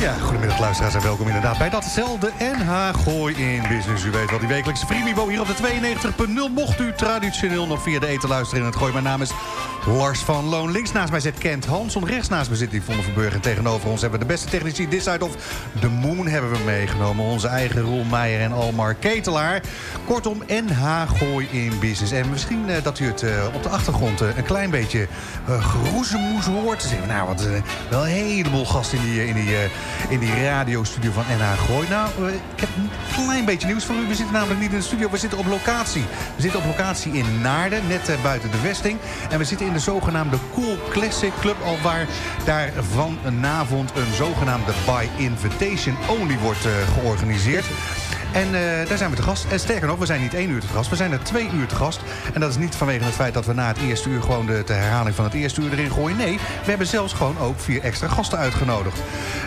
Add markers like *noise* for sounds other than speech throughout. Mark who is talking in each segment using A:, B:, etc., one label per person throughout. A: Ja, goedemiddag luisteraars en welkom inderdaad bij datzelfde NH Gooi in Business. U weet wel, die wekelijkse freemibo hier op de 92.0. Mocht u traditioneel nog via de eten luisteren in het Gooi. Mijn naam is Lars van Loon. Links naast mij zit Kent Hanson, rechts naast me zit Yvonne Verburg. En tegenover ons hebben we de beste technici This Side of The Moon hebben we meegenomen. Onze eigen Roel Meijer en Almar Ketelaar. Kortom, NH Gooi in Business. En misschien eh, dat u het eh, op de achtergrond eh, een klein beetje eh geroezemoes hoort. Dan zeggen we, nou, wat eh, wel een heleboel gasten in die, eh, in die, eh, in die radiostudio van NH Gooi. Nou, eh, ik heb een klein beetje nieuws voor u. We zitten namelijk niet in de studio, we zitten op locatie. We zitten op locatie in Naarden, net eh, buiten de Westing. En we zitten in de zogenaamde Cool Classic Club, al waar daar vanavond een zogenaamde by invitation only wordt eh, georganiseerd. En eh, daar zijn we te gast. En sterker nog, we zijn niet één uur te gast, we zijn er twee uur te gast. En dat is niet vanwege het feit dat we na het eerste uur gewoon de, de herhaling van het eerste uur erin gooien. Nee, we hebben zelfs gewoon ook vier extra gasten uitgenodigd.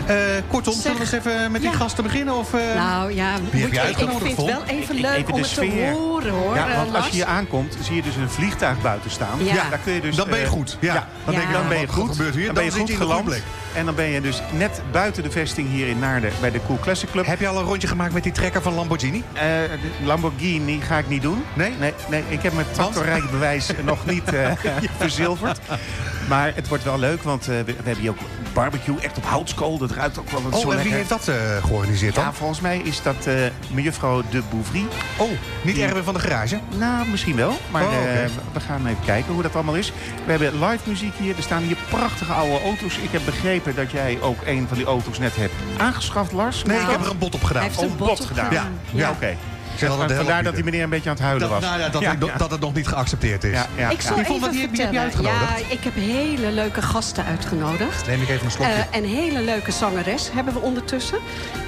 A: Eh, kortom, zullen we eens even met die
B: Ja.
A: gasten beginnen? Of, eh,
B: Nou ja,
A: je
B: moet je- ik
A: uitgenodigd,
B: vind
A: Vol?
B: het wel even
C: Ik- ik-
B: leuk
C: even
B: om
C: de
B: het te
C: sfeer.
B: horen hoor.
C: Ja,
B: eh,
C: want als
B: Lars.
C: je hier aankomt, zie je dus een vliegtuig buiten staan.
B: Ja.
C: daar kun je dus,
A: Dan ben je
C: eh,
A: goed, ja. Dan
C: Dan,
B: denk je,
C: dan ben je
A: wat
C: goed.
A: gebeurt hier?
C: Dan, ben
A: Dan
C: je
A: zit
C: goed
A: je in de goede
C: geland. En dan ben je dus net buiten de vesting hier in Naarden bij de Cool Classic Club.
A: Heb je al een rondje gemaakt met die trekker van Lamborghini?
C: Eh, de Lamborghini ga ik niet doen.
A: Nee?
C: Nee, nee ik heb mijn
A: *laughs*
C: tractorrijbewijs nog niet eh, verzilverd. Maar het wordt wel leuk, want eh, we, we hebben hier ook barbecue, echt op houtskool. Dat ruikt ook wel wat zo
A: Oh, en
C: lekker.
A: wie heeft dat eh, georganiseerd dan?
C: ja, volgens mij is dat eh mejuffrouw de Bouvry.
A: Oh, niet
C: Die-
A: Erwin van de garage?
C: Nou, misschien wel. Maar
A: Oh,
C: eh,
A: oké.
C: we gaan even kijken hoe dat allemaal is. We hebben live muziek hier. Er staan hier prachtige oude auto's. Ik heb begrepen dat jij ook een van die auto's net hebt aangeschaft, Lars.
A: Nee,
B: Nou,
A: ik heb er een bot op gedaan.
B: Hij heeft
C: Oh,
B: een bot
C: bot gedaan.
B: opgedaan.
A: Ja, ja.
C: Oké.
A: Ik zeg altijd de helft
C: Vandaar dat die
A: bieden.
C: meneer een beetje aan het huilen
A: Dat,
C: was.
A: nou ja, dat,
C: Ja,
A: ik- dat-
C: ja.
A: dat het nog niet geaccepteerd is.
C: Ja, ja,
B: Ik
C: ja.
B: zal
A: Yvonne,
B: even
A: wat heb je- heb je
B: vertellen. ja,
A: uitgenodigd?
B: ik heb hele leuke gasten uitgenodigd.
A: Neem ik even een slokje.
B: Eh, een hele leuke zangeres hebben we ondertussen.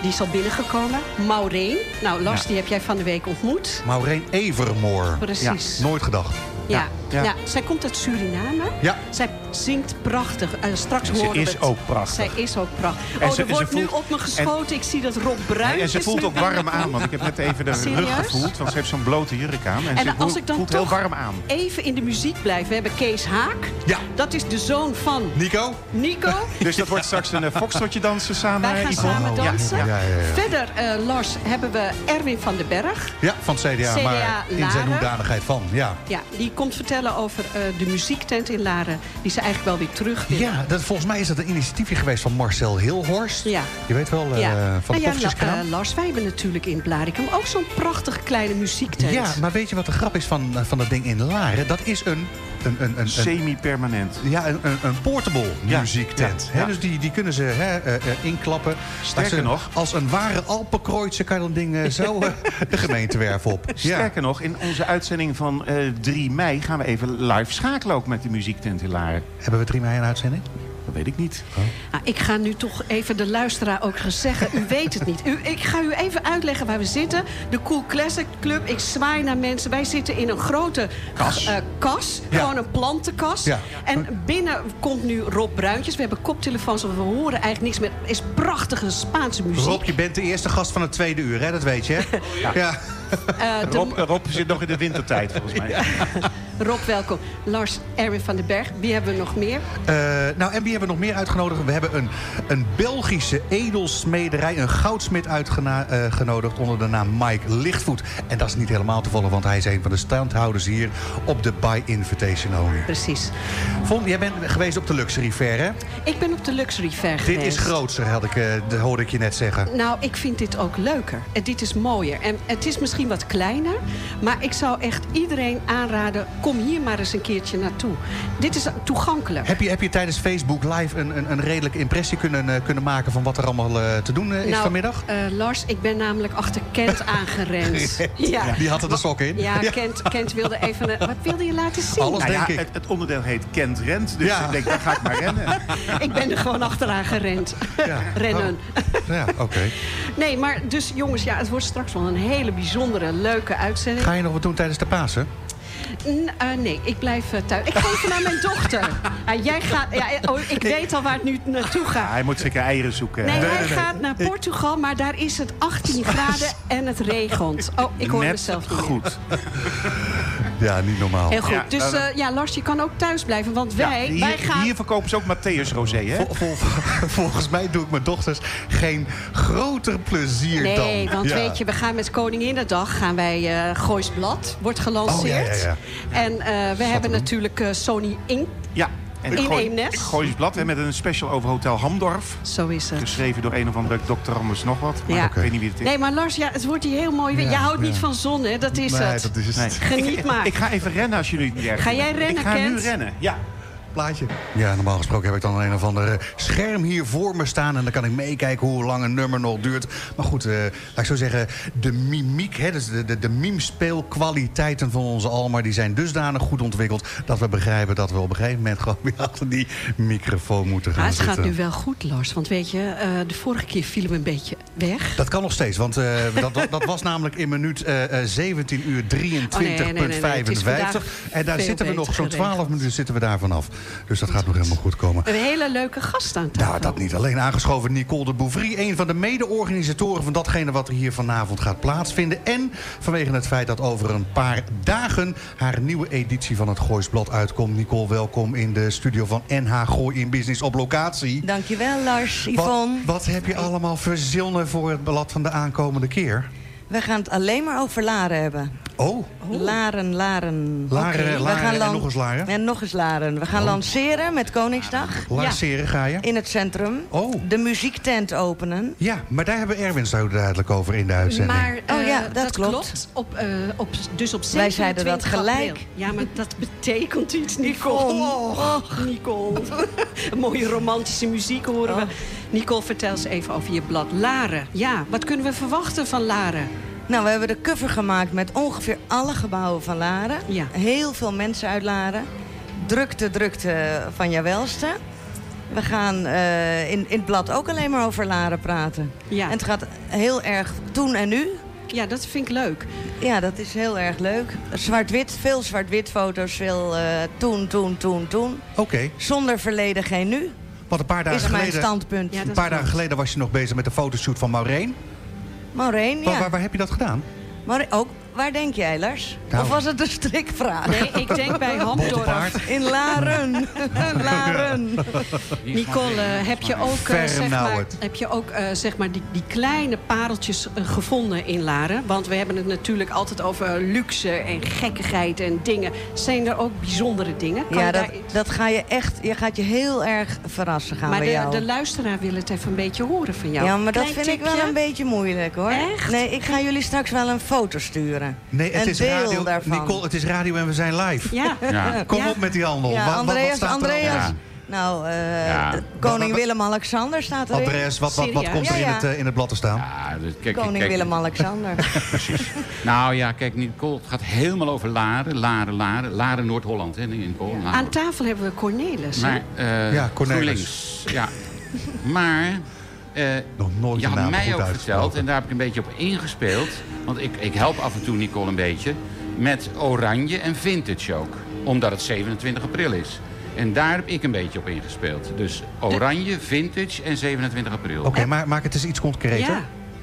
B: Die is al binnengekomen. Maureen. Nou, Lars,
C: Ja.
B: die heb jij van de week ontmoet.
A: Maureen Evermoor.
B: Precies. Ja.
A: Nooit gedacht.
B: Ja.
C: Ja.
B: zij komt uit Suriname.
A: Ja.
B: Zij zingt prachtig. Eh, straks
C: En ze
B: horen we
C: is
B: het.
C: ook prachtig.
B: Zij is ook prachtig.
C: En
B: oh,
C: ze- en
B: er
C: ze
B: wordt nu
C: voelt-
B: op me geschoten. Ik zie dat Rob Bruin
C: En ze
B: is
C: voelt
B: nu
C: ook warm aan, want ik heb net even de
B: Serieus?
C: rug gevoeld. Want ze heeft zo'n blote jurk aan. En,
B: En
C: ze
B: als
C: voelt,
B: ik dan
C: voelt
B: toch-
C: heel warm aan.
B: Even in de muziek blijven. We hebben Kees Haak.
A: Ja.
B: Dat is de zoon van
A: Nico?
B: Nico.
C: Dus dat wordt straks een eh, foxtrotje dansen samen.
B: Wij gaan
C: eh, Yvonne.
B: samen
A: Oh, ja.
B: dansen.
A: Ja, ja, ja, ja.
B: Verder, eh, Lars, hebben we Erwin van den Berg.
A: Ja, van het CDA,
B: CDA
A: maar in zijn
B: Laren.
A: hoedanigheid van. Ja.
B: Ja, die komt vertellen over eh, de muziektent in Laren. Die ze eigenlijk wel weer terug willen.
A: Ja, dat, volgens mij is dat een initiatiefje geweest van Marcel Hilhorst.
B: Ja.
A: Je weet wel, eh,
B: Ja.
A: van de
B: Nou ja,
A: Koffertjeskanaal.
B: La- eh, Lars, wij hebben natuurlijk in Blarikum ook zo'n prachtig kleine muziektent.
A: Ja, maar weet je wat de grap is van, eh, van dat ding in Laren? Dat is een, een, een, een, een,
C: Semi-permanent.
A: ja, een, een, een portable
C: Ja,
A: muziektent.
C: ja,
A: Hè,
C: ja.
A: Dus die, die kunnen ze hè, eh, eh, inklappen.
C: Sterker
A: als een,
C: nog-
A: Als een ware Alpenkreuzer kan je dat ding eh,
C: *laughs*
A: zo eh, de gemeentewerf op.
C: Sterker nog, in onze uitzending van eh 3 mei gaan we even live schakelen ook met de muziektent in Laren.
A: Hebben we 3 mei een uitzending?
C: Dat weet ik niet.
B: Nou, ik ga nu toch even de luisteraar ook gaan zeggen. U weet het niet. U, ik ga u even uitleggen waar we zitten. De Cool Classic Club. Ik zwaai naar mensen. Wij zitten in een grote
A: Kas.
B: eh, kas.
A: Ja.
B: Gewoon een plantenkas.
A: Ja.
B: En binnen komt nu Rob Bruintjes. We hebben koptelefoons, want we horen eigenlijk niks meer. Het is prachtige Spaanse muziek.
A: Rob, je bent de eerste gast van het tweede uur, hè? dat weet je.
B: *laughs*
A: Hè? Ja.
B: Oh, Eh, de-
C: Rob, Rob zit nog in de wintertijd volgens
B: *laughs*
C: mij.
B: Rob, welkom. Lars Erwin van den Berg. Wie hebben we nog meer?
A: Eh, nou, en wie hebben we nog meer uitgenodigd? We hebben een, een Belgische edelsmederij, een goudsmid uitgenodigd onder de naam Mike Lichtvoet. En dat is niet helemaal te volgen, want hij is een van de standhouders hier op de By Invitation Only.
B: Precies.
A: Von, jij bent geweest op de Luxury Fair, hè?
B: Ik ben op de Luxury Fair
A: Dit is
B: geweest.
A: grootser, had ik, eh, dat hoorde ik je net zeggen.
B: Nou, ik vind dit ook leuker. Eh, En dit is mooier. En het is misschien wat kleiner. Maar ik zou echt iedereen aanraden... kom hier maar eens een keertje naartoe. Dit is toegankelijk.
A: Heb je, heb je tijdens Facebook Live een, een, een redelijke impressie kunnen, eh, kunnen maken van wat er allemaal eh, te doen eh, is
B: Nou,
A: vanmiddag?
B: eh, Lars, ik ben namelijk achter
A: *laughs*
B: Kent aangerend. dus, ja.
A: Die had er de sok in.
B: Ja, Kent, Kent wilde even... een- wat wilde je laten zien?
A: Alles
C: Nou ja,
A: denk ik.
C: Het, het onderdeel heet Kent Rent. Dus
A: Ja.
C: ik denk, daar ga ik
A: *laughs*
C: maar rennen.
B: eh, Ik ben er gewoon achteraan gerend.
A: Ja.
B: *laughs* Rennen.
A: Ja, oké.
B: Nee, maar dus jongens, ja, het wordt straks wel een hele bijzondere, leuke uitzending.
A: Ga je nog wat doen tijdens de Pasen?
B: N- eh, nee, ik blijf eh, thuis. Ik ga even naar mijn dochter. Ja, jij gaat, ja, eh, oh, ik weet al waar het nu naartoe
C: Ah,
B: gaat.
C: hij moet zeker eieren zoeken.
B: Nee, hij gaat naar Portugal, maar daar is het 18 graden en het regent. Oh, ik hoor
C: Net
B: mezelf niet. meer.
C: goed.
A: Ja, niet normaal.
B: Heel goed.
C: Ja, nou,
B: dus eh, ja, Lars, je kan ook thuis blijven, want
C: Ja,
B: wij,
C: hier,
B: wij gaan...
C: hier verkopen ze ook Matthäus Rosé, hè?
A: Vol- vol- *laughs* volgens mij doe ik mijn dochters geen groter plezier dan.
B: Nee, want
A: Ja.
B: weet je, we gaan met Koninginnedag gaan wij eh Goois Blad wordt gelanceerd.
A: Oh, ja, ja,
B: En eh, we hebben natuurlijk eh, Sony Inc.
C: Ja. En
B: In
C: gooi,
B: Eemnes.
C: ik gooi eens blad hè, met een special over Hotel Hamdorf.
B: Zo is het.
C: Geschreven door een of andere dokter anders nog wat. Maar
B: Ja.
C: ik weet niet wie het is.
B: Nee, maar Lars, ja, het wordt hier heel mooi weer.
A: Ja,
B: Jij houdt
A: ja.
B: niet van zon, hè? Dat is
A: Nee,
B: het.
A: dat is het
C: Nee. *laughs*
B: Geniet maar.
C: Ik ga even rennen als jullie het niet erg
B: Ga
C: vinden.
B: jij rennen,
C: Ik ga nu
B: Kent?
C: rennen, ja.
A: plaatje. Ja, normaal gesproken heb ik dan een of ander eh, scherm hier voor me staan. En dan kan ik meekijken hoe lang een nummer nog duurt. Maar goed, eh, laat ik zo zeggen, de mimiek, hè, dus de, de, de meme-speelkwaliteiten van onze Alma... die zijn dusdanig goed ontwikkeld dat we begrijpen dat we op een gegeven moment... gewoon weer achter die microfoon moeten gaan
B: Maar het
A: zitten.
B: Ah, gaat nu wel goed, Lars. Want weet je, eh, de vorige keer viel we een beetje weg.
A: Dat kan nog steeds, want eh, dat, dat, dat was namelijk in minuut eh 17 uur 23.55.
B: Oh, nee, nee, nee, nee, het is vandaag
A: en daar
B: veel
A: zitten we
B: beter
A: nog zo'n 12
B: geregeld.
A: minuten zitten we daar vanaf. Dus dat gaat nog helemaal goed komen.
B: Een hele leuke gast aan tafel.
A: Nou, dat niet. Alleen aangeschoven Nicole de Bouvry. Een van de mede-organisatoren van datgene wat er hier vanavond gaat plaatsvinden. En vanwege het feit dat over een paar dagen haar nieuwe editie van het Gooisblad uitkomt. Nicole, welkom in de studio van NH Gooi in Business op locatie.
D: Dankjewel Lars,
A: Wat,
D: Yvonne.
A: wat heb je allemaal verzonnen voor het blad van de aankomende keer?
D: We gaan het alleen maar over Laren hebben.
A: Oh,
D: Laren, Laren.
A: Laren,
D: Oké. We
A: Laren
D: gaan
A: en
D: lan-
A: nog eens Laren. Oh.
D: En nog eens Laren. We gaan lanceren met Koningsdag.
A: lanceren ga je?
D: In het centrum.
A: Oh.
D: De muziektent openen.
A: Ja, maar daar hebben Erwin zo duidelijk over in de uitzending.
B: Maar eh,
D: Oh ja,
B: dat,
D: dat
B: klopt.
D: klopt.
B: Op, eh, op, dus op 27
D: Wij zeiden dat
B: april.
D: gelijk.
B: Ja, maar dat betekent iets, Nicole.
D: Oh.
B: Och, Nicole. *laughs* Mooie romantische muziek horen
D: Oh.
B: we. Nicole, vertel eens even over je blad Laren. Ja, wat kunnen we verwachten van Laren?
D: Nou, we hebben de cover gemaakt met ongeveer alle gebouwen van Laren.
B: Ja.
D: Heel veel mensen uit Laren. Drukte, drukte van jawelste. We gaan eh, in, in het blad ook alleen maar over Laren praten.
B: Ja.
D: En het gaat heel erg toen en nu.
B: Ja, dat vind ik leuk.
D: Ja, dat is heel erg leuk. Zwart-wit, veel zwart-wit foto's, veel eh, toen, toen, toen, toen.
A: Oké,
D: Zonder verleden geen nu,
A: want een paar dagen
D: is mijn
A: geleden...
D: standpunt.
B: Ja,
A: Een
B: dat
A: paar
B: klopt.
A: dagen geleden was je nog bezig met de fotoshoot van Maureen.
D: Maureen,
A: Waar,
D: ja.
A: waar, waar heb je dat gedaan?
D: Maar ook, waar denk jij, Lars?
A: Nou.
D: Of was het een strikvraag?
B: Nee, ik
D: *laughs*
B: denk bij Hamdorf.
A: Boltepaard.
D: In
B: *laughs*
D: Laren. Laren.
B: Nicole, eh, heb je ook, eh, zeg maar,
A: Vernauwend.
B: heb je ook eh, zeg maar die, die kleine pareltjes eh, gevonden in Laren? Want we hebben het natuurlijk altijd over eh, luxe en gekkigheid en dingen. Zijn er ook bijzondere dingen? Kan
D: Ja,
B: je
D: dat,
B: daar iets-
D: dat ga je echt, je gaat je heel erg verrassen gaan
B: maar
D: bij
B: de,
D: jou.
B: de luisteraar wil het even een beetje horen van jou.
D: ja, maar dat
B: Klein
D: vind ik
B: tipje?
D: wel een beetje moeilijk hoor.
B: Echt?
D: Nee, ik ga jullie straks wel een foto sturen.
A: *laughs* Nee, het
D: een
A: is
D: deel
A: radio.
D: daarvan.
A: Nicole, het is radio en we zijn live.
B: Ja.
C: Ja.
A: Kom
B: Ja.
A: op met die handel. Wa-
D: Ja,
A: wa- wat
D: Andreas,
A: staat er
D: Andreas.
A: allemaal?
D: Nou, eh,
E: Ja.
A: Wat- wat-
D: koning Willem-Alexander staat erin.
A: Andreas, wat, wat, wat
B: Serieus?
A: komt er in
D: Ja, ja.
A: het, eh, in het blad te staan?
E: Ja, dus kijk,
D: Koning
E: kijk,
D: Willem-Alexander.
E: Nou ja, kijk, Nicole, het gaat helemaal over Laren, Laren, Laren. Laren, Noord-Holland, hè, Nicole? Laren.
B: Aan tafel hebben we Cornelis. hè?
E: Maar, Nou. eh
A: Ja, Cornelis.
E: GroenLinks, ja. Maar, eh,
A: Nog nooit
E: je
A: je
E: had
A: naam
E: mij
A: goed
E: ook verteld,
A: uitgesproken.
E: en daar heb ik een beetje op ingespeeld. Want ik, ik help af en toe Nicole een beetje. Met oranje en vintage ook. Omdat het 27 april is. En daar heb ik een beetje op ingespeeld. Dus oranje, vintage en 27 april.
A: Oké, maar maak het eens iets concreter.
B: ja,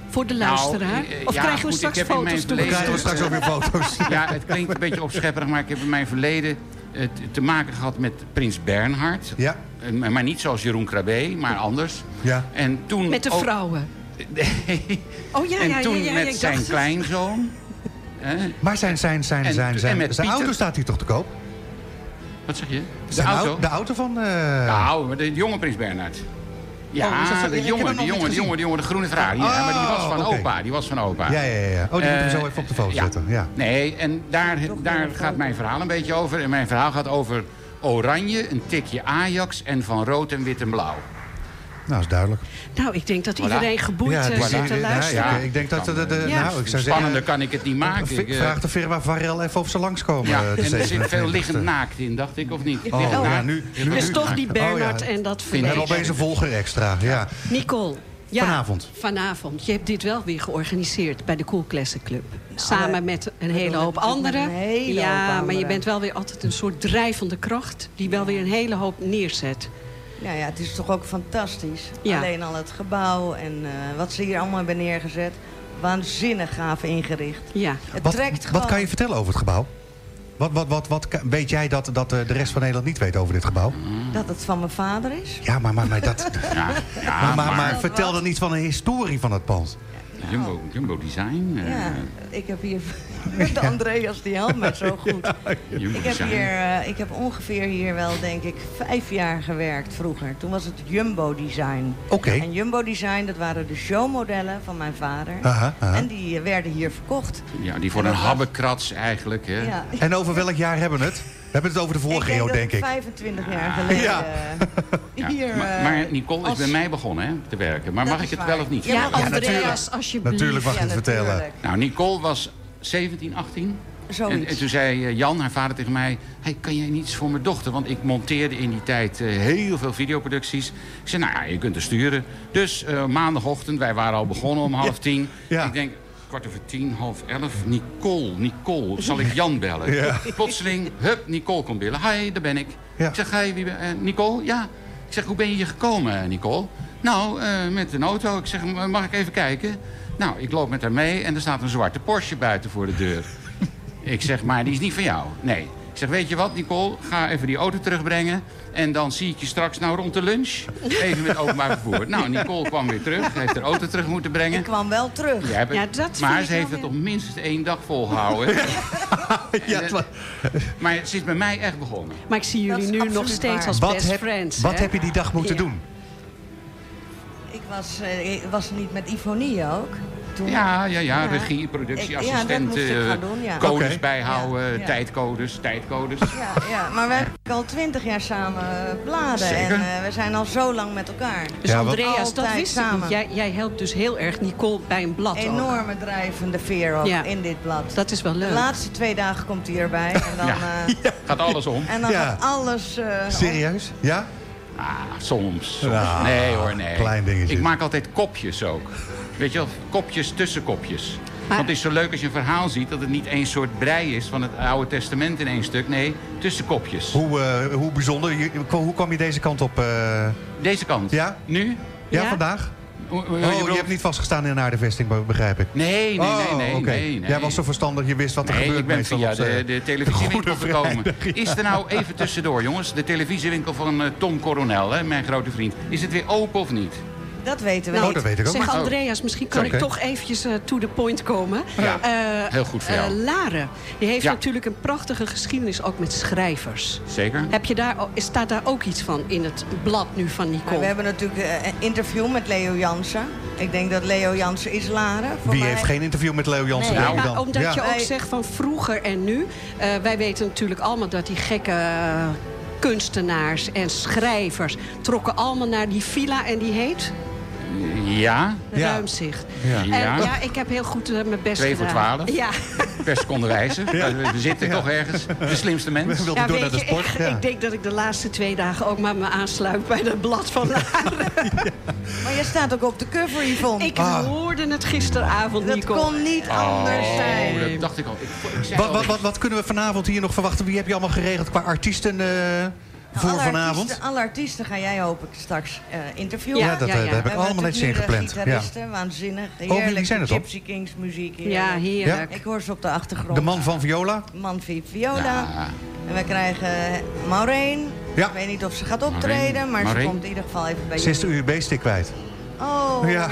B: voor de luisteraar.
E: Nou, eh,
B: of
E: ja,
B: krijgen we
E: goed,
B: straks
E: ik heb in mijn
B: foto's
A: Dan
E: verleden-
A: krijgen we
B: toe?
A: straks ook weer foto's.
E: *laughs* Ja, het klinkt een beetje opschepperig, maar ik heb in mijn verleden eh, t- te maken gehad met prins Bernhard.
A: Ja.
E: Eh, Maar maar niet zoals Jeroen Krabbe, maar anders.
A: Ja.
E: En toen
B: Met de
E: ook-
B: vrouwen.
E: *laughs* Nee.
B: Oh ja,
E: en
B: ja, ja,
E: toen
B: ja, ja,
E: met
B: ik dacht
E: zijn
B: het.
A: *laughs*
E: kleinzoon. Hè?
A: Maar zijn, zijn, zijn,
E: En-
A: zijn,
E: en
A: zijn, zijn,
E: met Pieter-
A: auto staat hier toch te koop?
E: Wat zeg je? De
A: Zijn
E: auto?
A: De auto van... eh,
E: Nou, maar de jonge prins Bernhard.
A: Oh, is dat zo?
E: Ja,
A: Ik
E: de
A: heb
E: jongen, die jongen,
A: hem nog niet
E: die jongen, die jongen, de groene Ferrari.
A: Ah,
E: ja, maar die was van
A: oké.
E: opa, die was van opa.
A: Ja, ja, ja, ja. Oh, die moeten we
E: Eh,
A: zo even op de foto
E: ja.
A: zetten. Ja.
E: Nee, en daar, daar gaat mijn verhaal een beetje over. En mijn verhaal gaat over oranje, een tikje Ajax en van rood en wit en blauw.
A: Nou, is duidelijk.
B: Nou, ik denk dat
E: Voilà.
B: iedereen geboeid
A: Ja,
B: eh,
A: dit-
B: zit
A: dit-
B: te
A: nou,
B: luisteren.
A: ik, ik denk dat... De, de, de-
B: Ja.
A: Nou, ik zou zeggen...
E: Spannender kan ik het niet maken. Ik,
A: v-
E: eh,
A: Vraag de firma Varel even of ze langskomen.
E: ja,
A: eh, de
E: en er zit
A: 27e.
E: veel liggend naakt in, dacht ik, of niet?
A: Oh,
E: Liggend
A: ja,
E: naakt.
A: nu... nu
B: Dus
A: nu-
B: toch die
A: Oh, ja.
B: Bernard en dat
E: Vind
A: We
E: ik
A: hebben
B: verwees.
A: opeens een volger extra, ja.
B: Nicole. ja,
A: Vanavond.
B: Vanavond. Je hebt dit wel weer georganiseerd bij de Cool Classic Club.
D: Nou,
B: Samen met een hele hoop
D: natuurlijk met
B: anderen.
D: een hele hoop
B: ja, maar je
D: anderen.
B: bent wel weer altijd een soort drijvende kracht... die wel weer een hele hoop neerzet.
D: Ja, ja, het is toch ook fantastisch.
B: Ja.
D: Alleen al het gebouw en eh, wat ze hier allemaal hebben neergezet. Waanzinnig gaaf ingericht.
B: Ja.
D: Het
A: Wat,
D: trekt gewoon.
A: wat kan je vertellen over het gebouw? Wat, wat, wat, wat ka- weet jij dat, dat eh, de rest van Nederland niet weet over dit gebouw?
D: Dat het van mijn vader is.
A: Ja, maar, maar, maar, dat,
D: *laughs*
E: *laughs* Ja, ja,
A: Ah, maar, maar,
E: maar, nou.
A: maar vertel dan iets van de historie van het pand.
E: Jumbo, Jumbo Design. eh,
D: Ja, ik heb hier... *laughs* De Andreas die helpt mij zo goed.
A: *laughs*
E: Jumbo
D: Ik heb,
E: Design.
D: hier, eh, ik heb ongeveer hier wel, denk ik, vijf jaar gewerkt vroeger. Toen was het Jumbo Design.
A: Oké.
D: En Jumbo Design, dat waren de showmodellen van mijn vader.
A: Aha, aha.
D: En die eh, werden hier verkocht.
E: Ja, die voor
D: En
E: een
D: dat was-
E: habbekrats eigenlijk. Hè.
D: Ja.
A: En over welk jaar hebben we het? We hebben het over de vorige eeuw, denk
D: dat
A: ik.
D: 25 jaar geleden
A: Ja.
E: Ja,
D: eh, hier...
E: maar,
D: eh,
E: maar Nicole is
D: als-
E: bij mij begonnen hè, te werken. Maar
D: Dat
E: mag
D: is
E: ik het
D: waar.
E: wel of niet?
D: Ja,
B: Ja,
D: natuurlijk.
B: Andreas, alsjeblieft.
A: Natuurlijk mag je het
D: Ja,
A: vertellen.
D: natuurlijk.
E: Nou, Nicole was 17, 18.
D: Zoiets.
E: En, en toen zei eh, Jan, haar vader, tegen mij... Hey, kan jij niets voor mijn dochter? Want ik monteerde in die tijd eh, heel veel videoproducties. Ik zei, nou ja, je kunt er sturen. Dus eh, maandagochtend, wij waren al begonnen om half tien.
A: Ja.
E: Ik denk, kwart over tien, half elf. Nicole, Nicole, zal ik Jan bellen?
A: Ja.
E: Plotseling, hup, Nicole komt bellen. Hi, daar ben ik.
A: Ja.
E: Ik zeg, hi, wie ben- eh, Nicole? Ja. Ik zeg, hoe ben je hier gekomen, eh, Nicole? Nou, eh, met een auto. Ik zeg, "M- mag ik even kijken? Nou, ik loop met haar mee en er staat een zwarte Porsche buiten voor de deur.
A: *laughs*
E: ik zeg, maar die is niet van jou. Nee. Ik zeg, weet je wat, Nicole? Ga even die auto terugbrengen. En dan zie ik je straks nou rond de lunch. Even met openbaar vervoer. Nou, Nicole kwam weer
D: *laughs*
E: terug. Heeft haar auto terug moeten brengen.
D: Ik kwam wel terug.
E: Jij hebt
B: Ja,
E: het-
B: dat vind
E: maar
B: ik
E: ze
B: wel
E: heeft het
B: weer-
E: op minstens één dag
D: *laughs*
E: volgehouden.
A: Ja, het was-
E: *laughs* maar het is bij mij echt begonnen.
B: Maar ik zie
D: Dat
B: jullie
D: is
B: nu nog
D: absoluut
B: steeds
D: waar.
B: als
A: wat
B: best
A: heb,
B: friends.
A: wat
B: hè?
A: heb je die dag moeten
B: Ja.
A: doen?
D: Ik was, eh, ik was niet met Ivonie ook. Toen
E: Ja, ja, ja,
D: Ja.
E: regie,
D: Ik- ja, dat moest
E: productieassistent,
D: ik
E: eh,
D: gaan doen, ja.
E: codes
A: Oké.
E: bijhouden,
D: Ja, ja.
E: tijdcodes, tijdcodes.
D: Ja, ja, maar we hebben al twintig jaar samen eh, bladen.
E: Zeker.
D: En eh, we zijn al zo lang met elkaar.
B: Dus
A: Ja, wat-
B: Andreas, dat
D: Altijd
B: wist ik
D: samen.
B: niet. Jij, jij helpt dus heel erg Nicole bij een blad ook.
D: Enorme drijvende veer ook
B: Ja.
D: in dit blad.
B: Dat is wel
D: de
B: leuk.
D: laatste twee dagen komt hij erbij. En dan,
E: Ja.
D: eh,
E: Gaat alles om?
D: en dan
A: Ja.
D: gaat alles... eh,
A: Serieus? Ja?
E: Ah, soms. soms.
A: Nou,
E: nee hoor, nee.
A: klein dingetje.
E: Ik maak altijd kopjes ook. Weet je wel, kopjes tussen kopjes.
B: Maar-
E: Want het is zo leuk als je een verhaal ziet dat het niet één soort brei is van het Oude Testament in één stuk. Nee, tussen kopjes.
A: Hoe, eh, hoe bijzonder? Je- je- hoe kwam je deze kant op? eh,
E: Deze kant.
A: Ja?
E: Nu?
A: ja,
B: Ja?
A: vandaag?
E: O- o-
A: Oh, je,
E: bedoelt-
A: hebt niet vastgestaan in een aardevesting, be- begrijp ik.
E: Nee, nee, nee,
A: Oh,
E: nee,
A: oké.
E: nee, nee.
A: Jij was zo verstandig, je wist wat er
E: Nee,
A: gebeurt
E: ik ben
A: meestal eh,
E: via
A: op de-
E: de, de televisiewinkel
A: Goede
E: gekomen.
A: Vrijdag, ja.
E: Is er nou even tussendoor, jongens, de televisiewinkel van eh, Tom Coronel, hè, mijn grote vriend. Is het weer open of niet?
D: Dat weten we
A: Oh,
E: Nou,
D: niet.
A: dat weet ik ook.
B: Zeg
E: maar.
B: Andreas, misschien kan
E: Sorry.
B: ik toch eventjes eh, to the point komen.
E: Ja,
B: Eh,
E: heel goed voor jou.
B: eh, Laren, die heeft
E: Ja.
B: natuurlijk een prachtige geschiedenis ook met schrijvers.
E: Zeker?
B: Heb je daar, o- staat daar ook iets van in het blad nu van
D: Nou,
B: Nicole?
D: we hebben natuurlijk eh, een interview met Leo Jansen. Ik denk dat Leo Jansen is Laren. Voor
A: Wie
D: mij.
A: heeft geen interview met Leo Jansen?
D: Nee.
A: denk ik
B: Ja,
A: dan?
B: omdat
A: Ja.
B: je ook
D: Wij-
B: zegt van vroeger en nu. Eh, wij weten natuurlijk allemaal dat die gekke eh, kunstenaars en schrijvers... trokken allemaal naar die villa en die heet
E: Ja,
A: Ja.
B: Ruimzicht.
A: Ja.
B: En
E: Ja.
B: ja, ik heb heel goed eh, mijn best
E: Twee voor
B: gedaan.
E: twaalf.
B: Ja.
E: best konden wijzen. We- We zitten toch ergens. De slimste mens.
A: Wil
B: Ja,
A: door naar
B: weet
A: de
B: je,
A: sport?
B: Ik,
A: Ja.
B: ik denk dat ik de laatste twee dagen ook maar me aansluit bij dat
A: *laughs*
B: blad van Laren.
D: Maar jij staat ook op de cover, Yvonne.
B: Ik
A: Ah. Oh.
B: hoorde het gisteravond,
D: dat
B: Nicole.
D: kon niet anders zijn.
E: Oh, dat dacht ik al. Ik, ik zei
A: Wat,
E: al-
A: wat, wat, wat kunnen we vanavond hier nog verwachten? Wie heb je allemaal geregeld qua artiesten eh, voor
D: Nou, alle
A: vanavond?
D: Artiesten, alle artiesten ga jij hopelijk straks eh, interviewen.
B: Ja,
A: Ja, dat,
B: ja,
A: eh,
B: ja.
A: daar heb
D: We
A: ik
D: hebben
A: allemaal net in
D: natuurlijk nu de
A: gepland. Ja. Oh,
D: Gitaristen, waanzinnig.
A: wie-
D: Heerlijk.
A: wie zijn het
D: de
A: dan?
D: Gypsy Kings muziek.
B: Ja,
D: heerlijk.
B: heerlijk.
D: Ik hoor ze op de achtergrond.
A: De man van Viola?
D: Man van Viola.
E: Ja.
D: En we krijgen Maureen.
A: Ja.
D: Ik weet niet of ze gaat optreden, maar
E: Maureen.
D: ze komt in ieder geval even bij
A: Ze is de
D: jullie.
A: USB-stick kwijt. *laughs* Oh,
D: Oh,
A: Ja.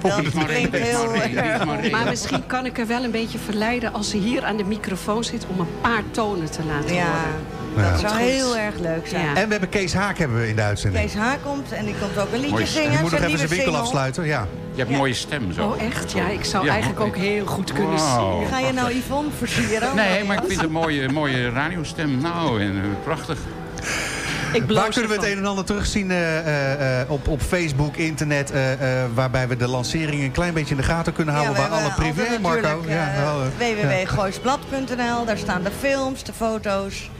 D: dat
E: Niet maar één,
D: klinkt
E: niet
A: *laughs*
D: heel...
E: maar één, niet *laughs* maar één.
B: Maar misschien kan ik er wel een beetje verleiden als ze hier aan de microfoon zit om een paar tonen te laten
D: Ja,
B: horen.
D: Dat
A: Ja.
D: zou
B: Goed.
D: heel erg leuk zijn.
B: Ja.
A: En we hebben Kees Haak hebben we in de uitzending.
D: Kees Haar komt en die komt ook een liedje
E: Mooi.
D: zingen.
A: Die moet nog
D: zijn
A: even zijn
D: nieuwe
A: winkel
D: single.
A: afsluiten. Ja.
E: Je hebt een mooie stem zo.
B: Oh, echt? Ja, ik zou
E: Ja,
B: eigenlijk
E: maar-
B: ook heel goed kunnen
E: Wauw.
B: zingen.
D: Ga je nou Yvonne versieren?
E: Nee, maar ik vind het een mooie, mooie radiostem. Nou, en, eh, prachtig.
B: Ik
A: Waar
B: bloos
A: kunnen we het een
B: ervan.
A: en ander terugzien eh, eh, eh, op, op Facebook, internet... eh, eh, waarbij we de lancering een klein beetje in de gaten kunnen houden... bij alle privé, Marco. wel, eh, ja.
D: www.gooisblad.nl, daar staan de films, de foto's,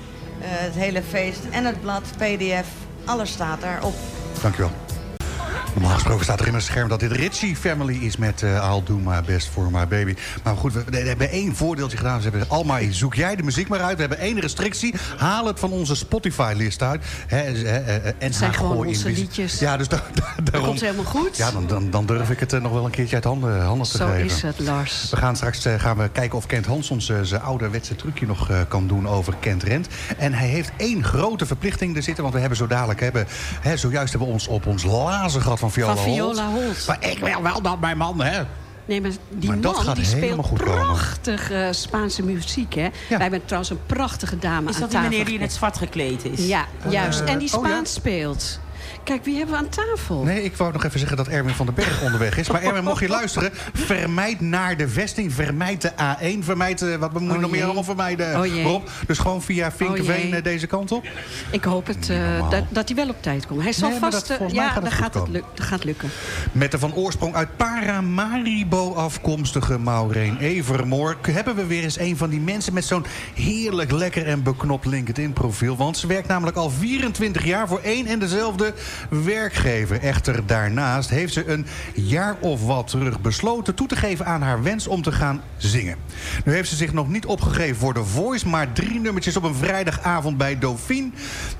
D: eh, het hele feest en het blad, pdf. Alles staat daarop.
A: Dankjewel. Normaal gesproken staat er in mijn scherm dat dit Ritchie Family is met eh I'll Do My Best For My Baby. Maar goed, we, we hebben één voordeeltje gedaan. Ze hebben Alma, zoek jij de muziek maar uit. We hebben één restrictie. Haal het van onze Spotify-list uit. Hè, dus, hè, eh, hè, hè, en
B: zijn
A: haar
B: gewoon
A: gooi in
B: onze
A: bis-
B: liedjes.
A: Ja, dus da- da- daarom...
B: komt helemaal goed.
A: Ja, dan, dan, dan durf ik het eh, nog wel een keertje uit handen, handen te
B: Zo
A: geven.
B: is het, Lars.
A: We gaan straks eh, gaan we kijken of Kent Hans ons eh, zijn ouderwetse trucje nog eh, kan doen over Kent Rent. En hij heeft één grote verplichting er zitten. Want we hebben zo dadelijk, hebben, hè, zojuist hebben we ons op ons lazen gehad van Viola,
B: Van Viola
A: Holt.
B: Holt.
A: Maar ik wil wel dat mijn man, hè.
B: Nee, maar die
A: Maar dat
B: man
A: gaat
B: die
A: helemaal
B: speelt
A: goed komen.
B: prachtige Spaanse muziek, hè? Wij hebben trouwens een prachtige dame
F: Is
B: aan
F: dat die
B: tafel.
F: meneer die in het zwart gekleed is?
B: Ja, juist. En die
A: oh, ja.
B: Spaans speelt. Kijk, wie hebben we aan tafel?
A: Nee, ik wou nog even zeggen dat Erwin van den Berg onderweg is. Maar Erwin, mocht je luisteren, vermijd naar de vesting. Vermijd de A1. Vermijd, eh, wat moet je
B: Oh
A: nog meer
B: jee.
A: allemaal vermijden,
B: Oh jee. Oh
A: Rob? Dus gewoon via Vinkenveen
B: jee.
A: eh, deze kant op.
B: Ik hoop het, eh,
A: normaal.
B: dat, dat hij wel op tijd komt. Hij zal
A: Nee, maar dat-
B: vast... eh,
A: volgens mij
B: ja,
A: gaat het
B: dan
A: goed
B: gaat het
A: komen.
B: luk- dat gaat lukken.
A: Oh. Met de van oorsprong uit Paramaribo afkomstige Maureen Evermoor... k- hebben we weer eens een van die mensen met zo'n heerlijk lekker en beknopt LinkedIn-profiel. Want ze werkt namelijk al 24 jaar voor één en dezelfde werkgever. Echter daarnaast heeft ze een jaar of wat terug besloten... toe te geven aan haar wens om te gaan zingen. Nu heeft ze zich nog niet opgegeven voor The Voice... maar drie nummertjes op een vrijdagavond bij Dauphine.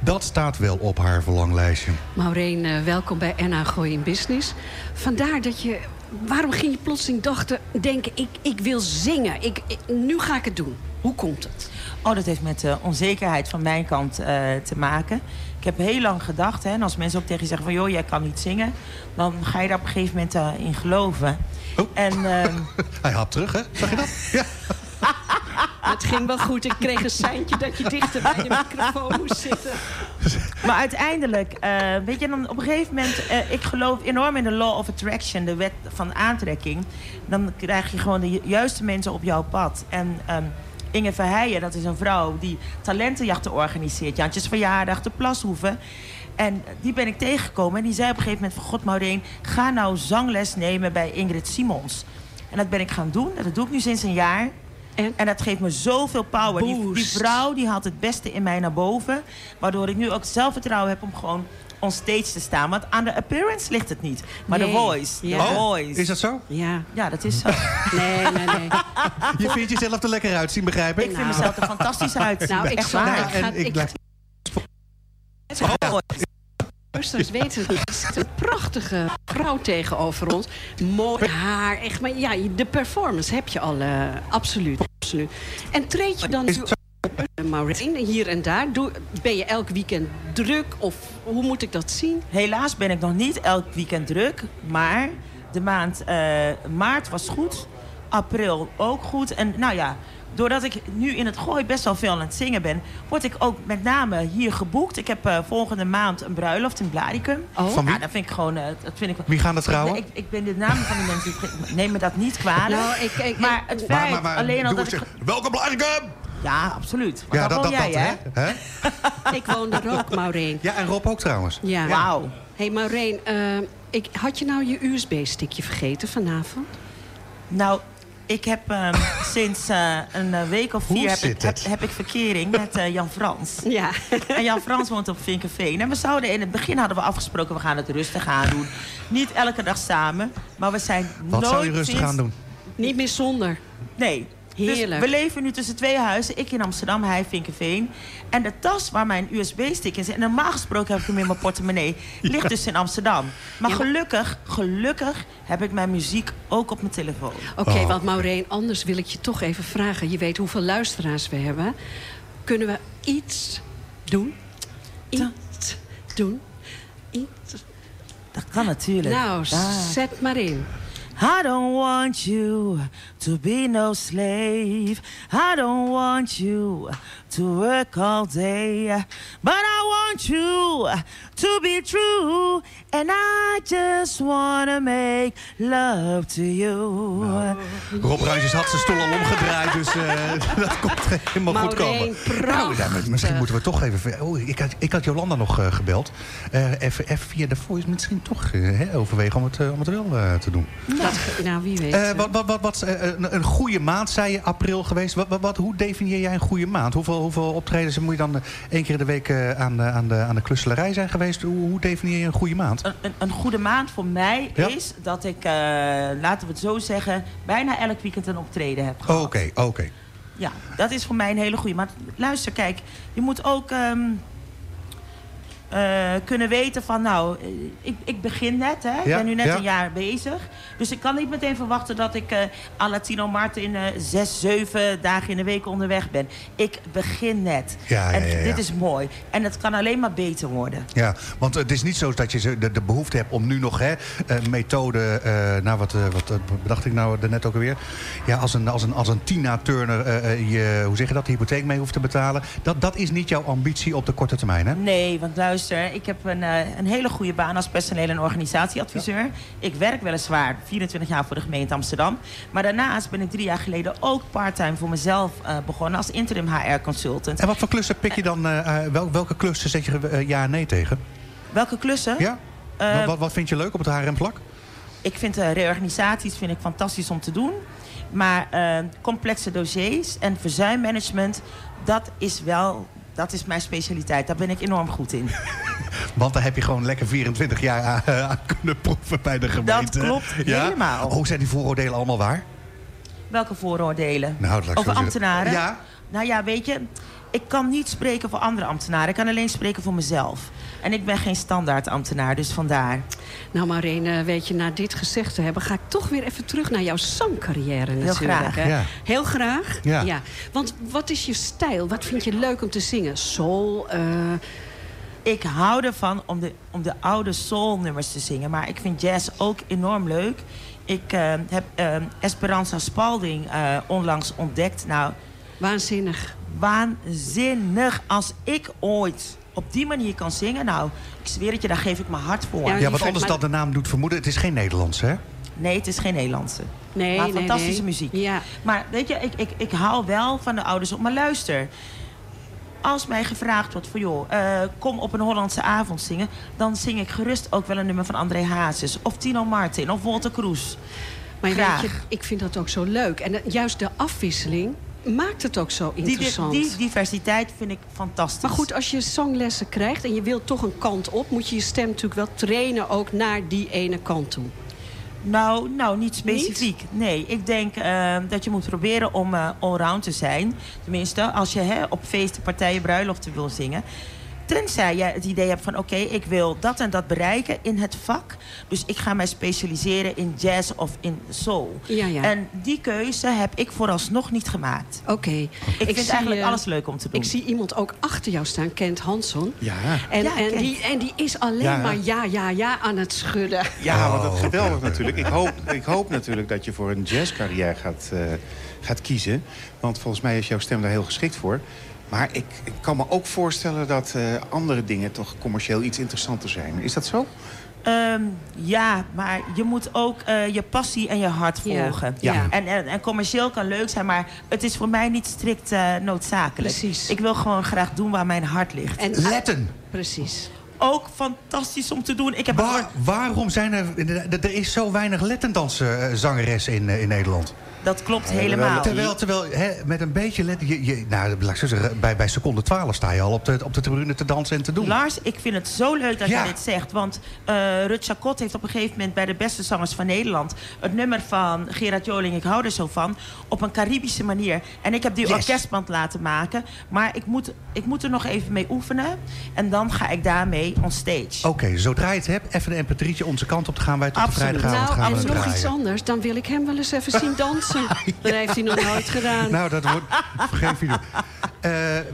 A: Dat staat wel op haar verlanglijstje.
B: Maureen, eh, welkom bij NH Gooi in Business. Vandaar dat je... Waarom ging je plotseling dachten, denken... Ik, ik wil zingen. Ik, ik- nu ga ik het doen. Hoe komt het?
F: Oh, dat heeft met eh, onzekerheid van mijn kant eh, te maken. Ik heb heel lang gedacht, hè, en als mensen ook tegen je zeggen van... joh, jij kan niet zingen, dan ga je daar op een gegeven moment eh, in geloven.
A: Oh.
F: En ehm,
A: Hij hapt terug, hè? Zag je dat? Ja.
B: Het ging wel goed. Ik kreeg een seintje dat je dichter bij de microfoon moest zitten.
F: Maar uiteindelijk, eh, weet je, dan op een gegeven moment, eh, ik geloof enorm in de law of attraction, de wet van aantrekking. Dan krijg je gewoon de ju- juiste mensen op jouw pad. En ehm, Inge Verheijen, dat is een vrouw die talentenjachten organiseert. Jantjes verjaardag, de Plashoeven. En die ben ik tegengekomen. En die zei op een gegeven moment van, god Maureen, ga nou zangles nemen bij Ingrid Simons. En dat ben ik gaan doen. En dat doe ik nu sinds een jaar.
B: En?
F: En, dat geeft me zoveel power. Die, die
B: Boost.
F: vrouw die haalt het beste in mij naar boven. Waardoor ik nu ook zelfvertrouwen heb om gewoon on stage te staan. Want aan de appearance ligt het niet. Maar de
B: Nee.
F: voice. De
B: Ja.
F: voice.
A: Oh, Is dat zo?
B: Ja,
F: Ja, dat is zo.
B: nee, nee, nee.
A: Je vindt jezelf er lekker uitzien, begrijp ik?
F: Ik vind mezelf er
A: *laughs*
F: fantastisch uit.
B: Nou, ik
F: Echt
B: zou-
F: waar.
B: ik ga-
A: en ik
B: ik-
A: blijf-
B: Luisteraars weten het niet. Er zit een prachtige vrouw tegenover ons. Mooi haar, echt. Maar ja, de performance heb je al, eh, absoluut, absoluut. En treed je dan
A: Is
B: nu op, Maureen, hier en daar? Doe, ben je elk weekend druk? Of hoe moet ik dat zien?
F: Helaas ben ik nog niet elk weekend druk. Maar de maand eh, maart was goed. April ook goed. En nou ja, doordat ik nu in het gooi best wel veel aan het zingen ben... word ik ook met name hier geboekt. Ik heb eh, volgende maand een bruiloft in Blaricum.
B: Oh.
A: Van wie?
F: Ja, dat vind ik gewoon... eh, dat vind ik...
A: Wie gaan dat trouwen?
F: Ik, ik, ik ben de naam van die mensen... vergeten. Neem me dat niet kwalijk.
B: Nou, ik- ik-
F: maar het feit
A: Maar- maar- maar
F: alleen al
A: doe
F: dat
A: eens-
F: ik...
A: Welkom, Blaricum!
F: Ja, absoluut.
A: Ja,
F: Want daar
A: dat, dat,
F: woon
A: dat,
F: jij,
A: hè? Hè?
B: Ik woon er ook, Maureen.
A: Ja, en Rob ook trouwens.
B: dus- Ja.
F: Wauw.
B: Hé, hey Maureen, eh, ik, had je nou je USB-stickje vergeten vanavond?
F: Nou, ik heb
A: *laughs*
F: ehm, sinds eh, een eh, week of
A: Hoe
F: vier heb
A: zit
F: ik, heb,
A: het?
F: heb ik verkering met eh, Jan
A: *laughs*
F: Frans.
B: Ja.
F: En Jan Frans woont op Vinkenveen. En we zouden in het begin hadden we afgesproken, we gaan het rustig aan doen. Niet elke dag samen, maar we zijn nooit
A: Wat zou je rustig
F: sinds-
A: aan doen?
B: Niet meer zonder.
F: Nee.
B: Heerlijk.
F: Dus we leven nu tussen twee huizen. Ik in Amsterdam, hij in Vinkenveen. En de tas waar mijn USB-stick in zit... en normaal gesproken heb ik hem in mijn
A: *laughs*
F: portemonnee... ligt dus in Amsterdam. Maar
B: Ja, maar-
F: gelukkig, gelukkig heb ik mijn muziek ook op mijn telefoon.
B: Oké,
A: Oh.
B: want Maureen, anders wil ik je toch even vragen. Je weet hoeveel luisteraars we hebben. Kunnen we iets doen? Iets doen? Iets.
F: Dat kan natuurlijk.
B: Nou,
F: Daar.
B: zet maar in.
F: I don't want you to be no slave. I don't want you to work all day. But I want you to be true. And I just wanna make love to you.
A: Rob Ruijntjes had zijn stoel al omgedraaid, dus eh, *laughs* dat komt helemaal goed komen.
B: Maureen,
A: Nou, ja, maar misschien moeten we toch even... Oh, ik, had, ik had Jolanda nog eh, gebeld. Eh, even, even via de voice misschien toch eh, hè, overwegen om het, eh, om het wel eh, te doen.
B: Dat, ge- nou, wie weet.
A: Eh, wat, wat, wat, wat, eh, een, een goede maand, zei je, april geweest. Wat, wat, wat- hoe definieer jij een goede maand? Hoeveel, hoeveel optredens moet je dan eh, één keer in de week eh, aan, de, aan, de, aan de klusselarij zijn geweest? Hoe, hoe definieer je een goede maand?
F: Een, een, een goede maand voor mij
A: Ja.
F: is dat ik, eh, laten we het zo zeggen, bijna elk weekend een optreden heb
A: Oké,
F: gehad.
A: oké.
F: Ja, dat is voor mij een hele goede. Maar luister, kijk, je moet ook ehm, eh, kunnen weten van, nou, eh, ik, ik begin net, hè? ik
A: Ja,
F: ben nu net
A: ja.
F: een jaar bezig. Dus ik kan niet meteen verwachten dat ik eh à Latino Martin eh, zes, zeven dagen in de week onderweg ben. Ik begin net.
A: Ja, ja,
F: en
A: ja, ja.
F: dit is mooi. En het kan alleen maar beter worden.
A: Ja, want het is niet zo dat je ze- de, de behoefte hebt om nu nog hè, eh, methode... eh, nou, wat, eh, wat eh, bedacht ik nou daarnet ook alweer? Ja, als een, als een, als een Tina Turner eh, eh, je, hoe zeg je dat, de hypotheek mee hoeft te betalen. Dat, dat is niet jouw ambitie op de korte termijn, hè?
F: Nee, want luister, ik heb een, eh, een hele goede baan als personeel- en organisatieadviseur. Ik werk weliswaar 24 jaar voor de gemeente Amsterdam. Maar daarnaast ben ik drie jaar geleden ook parttime voor mezelf eh, begonnen als interim HR-consultant.
A: En wat voor klussen pik je dan... eh, eh, wel- welke klussen zet je eh, ja en nee tegen?
F: Welke klussen?
A: Ja?
F: Eh,
A: wat, wat vind je leuk op het HRM-vlak?
F: Ik vind eh, reorganisaties vind ik fantastisch om te doen. Maar eh, complexe dossiers en verzuimmanagement, dat is wel... Dat is mijn specialiteit. Daar ben ik enorm goed in.
A: Want daar heb je gewoon lekker 24 jaar aan, eh, aan kunnen proeven bij de gemeente. *laughs*
F: klopt helemaal.
A: Oh, zijn die vooroordelen allemaal waar?
F: Welke vooroordelen?
A: Nou, dat laat ik
F: Over
A: zo zeggen.
F: ambtenaren?
A: Ja.
F: Nou ja, weet je, ik kan niet spreken voor andere ambtenaren. Ik kan alleen spreken voor mezelf. En ik ben geen standaard ambtenaar, dus vandaar.
B: Nou, Maureen, eh, weet je, na dit gezegd te hebben... ga ik toch weer even terug naar jouw zangcarrière natuurlijk.
F: graag.
B: hè.
A: Ja.
B: Heel graag.
A: Ja.
B: Want wat is je stijl? Wat vind je leuk om te zingen? Soul? eh,
F: Ik hou ervan om de, om de oude soulnummers te zingen. Maar ik vind jazz ook enorm leuk. Ik eh, heb eh, Esperanza Spalding eh, onlangs ontdekt. Nou,
B: waanzinnig.
F: waanzinnig als ik ooit op die manier kan zingen. Nou, ik zweer het je, daar geef ik mijn hart voor.
B: Ja,
A: Ja, wat
B: lieverd,
A: anders
B: maar-
A: dan de naam doet vermoeden. Het is geen Nederlands, hè?
F: Nee, het is geen Nederlandse.
B: Nee,
F: maar
B: nee,
F: fantastische
B: nee.
F: muziek.
B: Ja.
F: Maar weet je, ik, ik, ik hou wel van de ouders op. Maar luister, als mij gevraagd wordt van joh, eh, kom op een Hollandse avond zingen, dan zing ik gerust ook wel een nummer van André Hazes of Tino Martin of Walter Kroes.
B: Maar
F: Graag.
B: weet je, ik vind dat ook zo leuk. En eh, juist de afwisseling maakt het ook zo
F: Die, di-
B: interessant.
F: die diversiteit vind ik fantastisch.
B: Maar goed, als je zanglessen krijgt en je wilt toch een kant op... moet je je stem natuurlijk wel trainen ook naar die ene kant toe.
F: Nou, nou, niet specifiek. Nee, ik denk eh, dat je moet proberen om eh allround te zijn. Tenminste, als je hè, op feesten, partijen, bruiloften wil zingen. Tenzij je het idee hebt van, oké, ik wil dat en dat bereiken in het vak. Dus ik ga mij specialiseren in jazz of in soul.
B: Ja, ja.
F: En die keuze heb ik vooralsnog niet gemaakt.
B: Oké.
F: Ik, vind
B: zie,
F: eigenlijk
B: eh,
F: alles leuk om te doen.
B: Ik zie iemand ook achter jou staan, Kent Hansson.
C: Ja.
B: En,
F: Ja,
B: en,
F: Kent.
B: die, en die is alleen
C: Ja.
B: maar ja, ja, ja aan het schudden.
C: Ja, want dat
A: Oh,
C: is geweldig
A: oké.
C: natuurlijk. Ik hoop, ik hoop natuurlijk dat je voor een jazzcarrière gaat, eh, gaat kiezen. Want volgens mij is jouw stem daar heel geschikt voor. Maar ik, ik kan me ook voorstellen dat eh, andere dingen toch commercieel iets interessanter zijn. Is dat zo?
F: Ehm, ja, maar je moet ook eh, je passie en je hart
B: Ja,
F: volgen.
B: ja. Ja.
F: En, en, en commercieel kan leuk zijn, maar het is voor mij niet strikt eh, noodzakelijk.
B: Precies.
F: Ik wil gewoon graag doen waar mijn hart ligt.
B: En,
A: Letten!
B: Precies.
F: Ook fantastisch om te doen. Ik heb
A: Waar-
F: gehoord-
A: waarom zijn er... Er is zo weinig lettendansen eh, zangeres in, eh, in Nederland.
F: Dat klopt
C: we
F: helemaal.
C: hebben
A: Terwijl, terwijl hè, met een beetje letten... Je, je, nou, laat ik zo zeggen, bij, bij seconde 12 sta je al op de, op de tribune te dansen en te doen.
F: Lars, ik vind het zo leuk dat
A: Ja.
F: je dit zegt. Want eh Rut Chacot heeft op een gegeven moment bij de beste zangers van Nederland... het nummer van Gerard Joling, Ik hou er zo van, op een Caribische manier. En ik heb die orkestband laten maken. Maar ik moet, ik moet er nog even mee oefenen. En dan ga ik daarmee on stage.
A: Oké, zodra je het hebt, even een mp3'tje onze kant op. Dan gaan wij tot de
F: Absoluut.
A: vrijdagavond
B: nou,
A: gaan we
B: en
A: het
B: nog
A: draaien.
B: iets anders. Dan wil ik hem wel eens even zien dansen. Dat heeft hij nog nooit gedaan.
A: Nou, dat wordt... Vergeef je. Eh,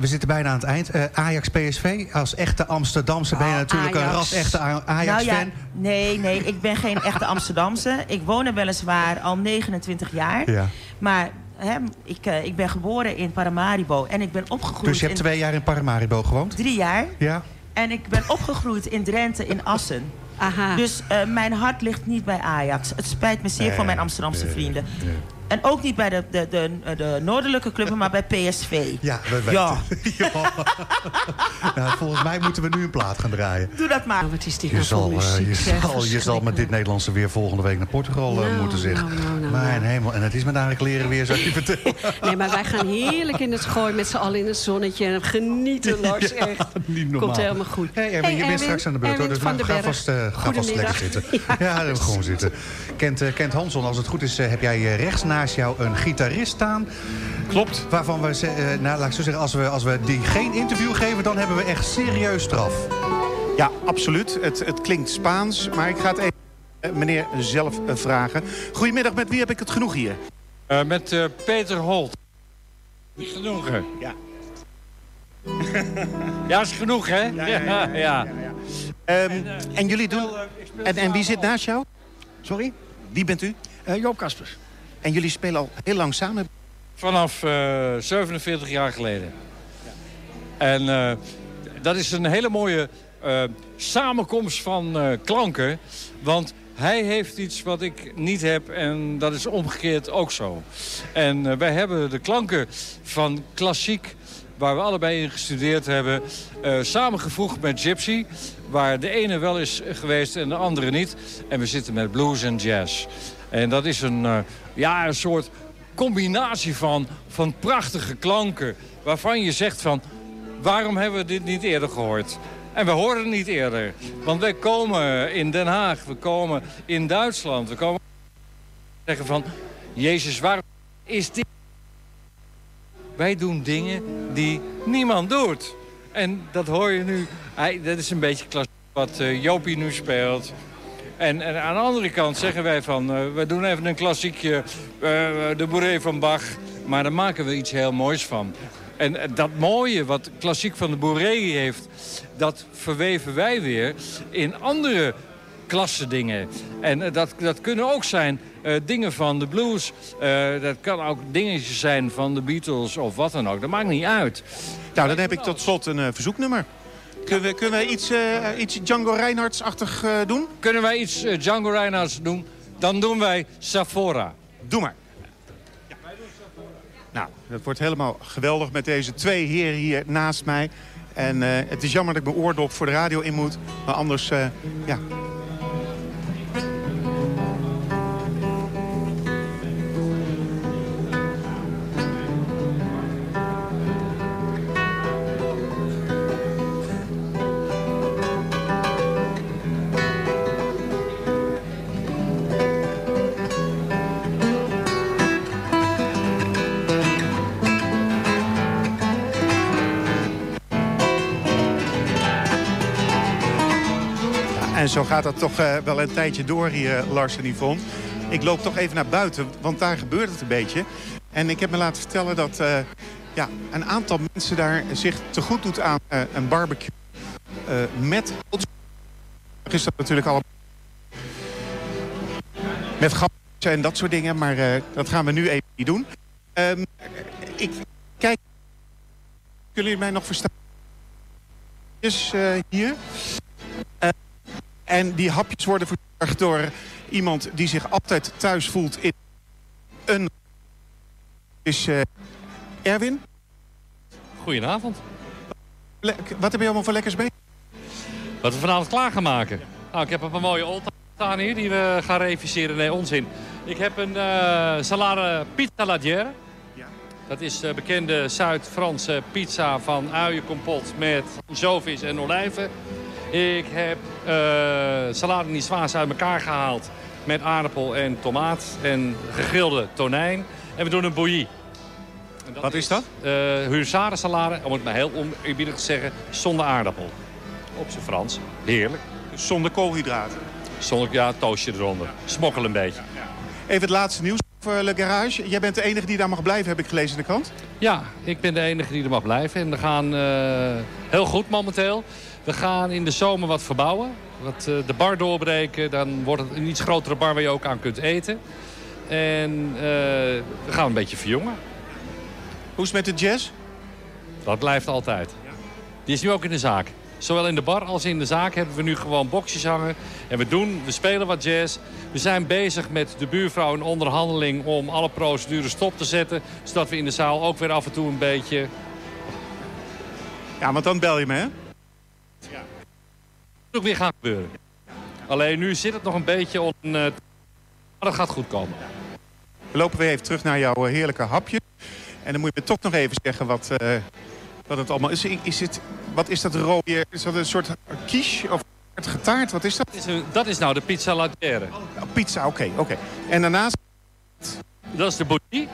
A: we zitten bijna aan het eind. Eh, Ajax-PSV. Als echte Amsterdamse ben je
B: Ah,
A: natuurlijk een
B: Ajax.
A: ras-echte A-
F: Oh, nou
A: Ajax-fan.
F: ja, nee, nee, ik ben geen echte Amsterdamse. Ik woon er weliswaar al 29 jaar.
A: Ja.
F: Maar hè, ik, eh, ik ben geboren in Paramaribo en ik ben opgegroeid
A: Dus je hebt
F: in
A: twee jaar in Paramaribo gewoond?
F: drie jaar.
A: Ja.
F: En ik ben opgegroeid in Drenthe, in Assen.
B: Aha.
F: Dus eh, mijn hart ligt niet bij Ajax. Het spijt me zeer voor mijn Amsterdamse vrienden. En ook niet bij de, de, de, eh, de noordelijke clubben, maar bij PSV.
A: Ja, *laughs* we weten.
F: Ja.
A: Ja. nou, volgens mij moeten we nu een plaat gaan draaien.
F: Doe dat maar.
B: Nou, wat is dit
A: Je
B: nou
A: zal,
B: voor
A: eh,
B: muziek,
A: je,
B: zeg,
A: zal, je zal met dit
B: verschrikkelijk.
A: Nederlandse weer volgende week naar Portugal eh,
B: Nou,
A: moeten zeggen.
B: nou, nou, nou,
A: Mijn
B: nou.
A: hemel, en het is met eigenlijk leren weer, zou ik
B: *laughs*
A: je vertellen.
B: Nee, maar wij gaan heerlijk in het gooi met z'n allen in het zonnetje. En genieten, Lars,
A: Ja,
B: echt.
A: *laughs* niet normaal.
B: Komt helemaal goed.
A: Hey, Erwin,
B: Hey,
A: je bent
B: Erwin,
A: straks aan de beurt hoor,
B: Erwin
A: dus maar
B: van den
A: ga
B: Berg.
A: vast, eh, ga vast lekker
B: Goedemiddag.
A: zitten.
B: *laughs*
A: Ja, dan gewoon zitten. Kent, eh, Kent Hanson, als het goed is, eh, heb jij eh, rechts naast jou een gitarist staan.
C: Klopt.
A: Waarvan we, ze- eh, nou laat ik zo zeggen, als we, als we die geen interview geven, dan hebben we echt serieus straf.
C: Ja, absoluut. Het, het klinkt Spaans, maar ik ga het even eh, meneer zelf eh, vragen. Goedemiddag, met wie heb ik het genoeg hier?
G: Eh, met eh, Peter Holt. Is genoeg, hè?
C: Ja.
G: ja, is genoeg, hè? Ja, *laughs* ja.
C: *laughs* Ehm, en jullie doen...
H: eh,
C: En, en wie zit naast jou?
H: Sorry?
C: Wie bent u?
H: Eh, Joop Kaspers.
C: En jullie spelen al heel lang samen.
G: Vanaf eh, 47 jaar geleden. En eh, dat is een hele mooie eh, samenkomst van eh, klanken. Want hij heeft iets wat ik niet heb en dat is omgekeerd ook zo. En eh, wij hebben de klanken van klassiek, waar we allebei in gestudeerd hebben... eh, samengevoegd met Gypsy, waar de ene wel is geweest en de andere niet. En we zitten met blues en jazz. En dat is een, eh, ja, een soort combinatie van, van prachtige klanken... waarvan je zegt van, waarom hebben we dit niet eerder gehoord? En we horen het niet eerder. Want wij komen in Den Haag, we komen in Duitsland, we komen zeggen van... Jezus, waarom is dit... Wij doen dingen die niemand doet. En dat hoor je nu. Hij, dat is een beetje klassiek wat eh, Jopie nu speelt. En, en aan de andere kant zeggen wij van... eh, we doen even een klassiekje, eh, de boeré van Bach. Maar daar maken we iets heel moois van. En eh, dat mooie wat klassiek van de boeré heeft... dat verweven wij weer in andere klasse dingen. En eh, dat, dat kunnen ook zijn eh, dingen van de blues. Eh, dat kan ook dingetjes zijn van de Beatles of wat dan ook. Dat maakt niet uit.
C: Nou, dan heb ik tot slot een eh, verzoeknummer. Kunnen we, kunnen we iets, eh, iets Django Reinhardt-achtig eh, doen?
G: Kunnen wij iets eh, Django Reinhardt doen? Dan doen wij Safora.
C: Doe maar. Nou, dat wordt helemaal geweldig met deze twee heren hier naast mij. En eh, het is jammer dat ik mijn oordop voor de radio in moet. Maar anders, eh, ja. En zo gaat dat toch eh, wel een tijdje door hier, eh, Lars en Yvonne. Ik loop toch even naar buiten, want daar gebeurt het een beetje. En ik heb me laten vertellen dat eh, ja, een aantal mensen daar zich te goed doet aan eh, een barbecue eh, met hout. Is dat natuurlijk allemaal met gas en dat soort dingen, maar eh, dat gaan we nu even niet doen. Ehm, ik kijk, kunnen jullie mij nog verstaan? Is eh, hier. Eh, En die hapjes worden verzorgd door iemand die zich altijd thuis voelt in een... Is eh, Erwin,
G: Goedenavond.
C: le- wat heb je allemaal voor lekkers mee?
G: Wat we vanavond klaar gaan maken. Nou, ik heb een mooie oldtimer staan hier die we gaan reviseren. Nee, onzin. Ik heb een eh, salade pizza ladière.
C: Ja.
G: Dat is de bekende Zuid-Franse pizza van uienkompot met zovis en olijven. Ik heb eh salade niçoise uit elkaar gehaald met aardappel en tomaat en gegrilde tonijn. En we doen een bouillie. En dat
C: Wat is dat?
G: eh huzarensalade, om het maar heel oneerbiedig te zeggen, zonder aardappel. Op zijn Frans. Heerlijk.
C: Dus Zonder koolhydraten.
G: Zonder ja, toastje eronder. Smokkel een beetje.
C: Even het laatste nieuws voor Le Garage. Jij bent de enige die daar mag blijven, heb ik gelezen in de krant.
H: Ja, ik ben de enige die er mag blijven. En we gaan eh, heel goed momenteel. We gaan in de zomer wat verbouwen. Wat, eh, de bar doorbreken. Dan wordt het een iets grotere bar waar je ook aan kunt eten. En eh, we gaan een beetje verjongen.
C: Hoe is het met de jazz?
H: Dat blijft altijd. Die is nu ook in de zaak. Zowel in de bar als in de zaak hebben we nu gewoon boxjes hangen. En we doen, we spelen wat jazz. We zijn bezig met de buurvrouw in onderhandeling om alle procedures stop te zetten. Zodat we in de zaal ook weer af en toe een beetje
C: Ja, want dan bel je me, hè?
H: ook weer gaan gebeuren. Alleen nu zit het nog een beetje on... eh, maar dat gaat goed komen.
C: We lopen weer even terug naar jouw eh, heerlijke hapje. En dan moet je me toch nog even zeggen wat, eh, wat het allemaal is. Is het, wat is dat rode? Is dat een soort quiche of getaard? Wat is dat?
H: Dat is, een- dat is nou de pizza latere.
C: Oh, pizza, oké, oké. En daarnaast,
H: Dat is de bouillie.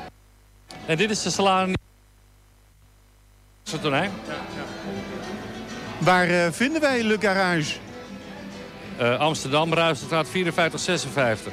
H: En dit is de salade. Zo tonijn.
C: waar eh, vinden wij Le Garage?
H: Eh Amsterdam, Ruisterstraat 54, 56.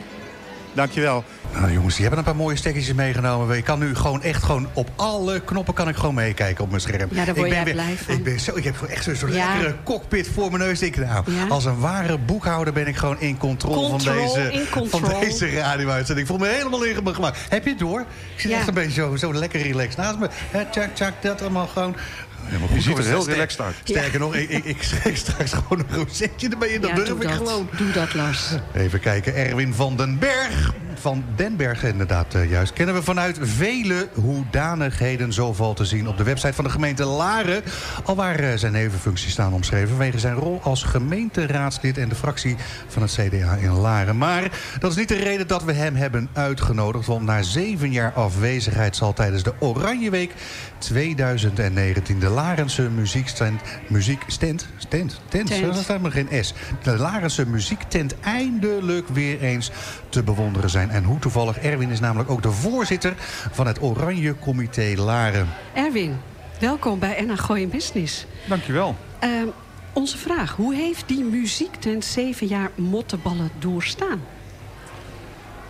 C: Dankjewel.
A: Nou jongens, die hebben een paar mooie stekkertjes meegenomen. Maar Ik kan nu gewoon echt gewoon op alle knoppen kan ik gewoon meekijken op mijn scherm.
B: Ja, daar word
A: ik
B: jij blij van.
A: Ik, ben zo, ik heb gewoon echt zo'n zo'n
B: Ja.
A: lekkere cockpit voor mijn neus. Ik, denk, nou,
B: Ja.
A: Als een ware boekhouder ben ik gewoon in controle van
B: Control,
A: deze,
B: in
A: van
B: control.
A: deze radio-uitzending. Ik voel me helemaal in mijn gemak. Heb je het door? Ik zit
B: Ja.
A: echt een beetje zo, zo lekker relaxed naast me. Hè, tjak, tjak, dat allemaal gewoon... Helemaal goed.
I: Je ziet er heel
A: Sterk-
I: relaxed uit.
A: Sterker nog, ik, ik, ik *laughs* schrik straks gewoon een rozetje erbij in. Dat
B: Ja,
A: durf
B: doe
A: ik
B: dat.
A: gewoon.
B: Doe dat, Lars.
A: Even kijken, Erwin van den Berg. Van den Berg, inderdaad, eh, juist. Kennen we vanuit vele hoedanigheden zoveel te zien op de website van de gemeente Laren. Alwaar eh, zijn nevenfuncties staan omschreven vanwege zijn rol als gemeenteraadslid en de fractie van het CDA in Laren. Maar dat is niet de reden dat we hem hebben uitgenodigd. Want na zeven jaar afwezigheid zal tijdens de Oranjeweek 2019 de Larense muziekstand. Muziekstand? Stand? Tent?
B: Tent.
A: Zo, dat staat maar geen S. De Larense muziektent eindelijk weer eens te bewonderen zijn. En hoe toevallig, Erwin is namelijk ook de voorzitter van het Oranje Comité Laren.
B: Erwin, welkom bij Enna Gooi in Business.
I: Dankjewel.
B: Ehm, onze vraag, hoe heeft die muziektent zeven jaar mottenballen doorstaan?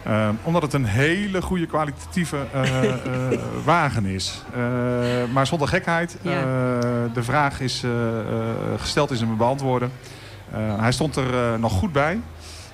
I: Ehm, omdat het een hele goede kwalitatieve
B: *laughs*
I: eh, eh, wagen is. Eh, maar zonder gekheid.
B: Ja.
I: eh, de vraag is eh, eh, gesteld is hem beantwoorden. Eh, hij stond er eh, nog goed bij.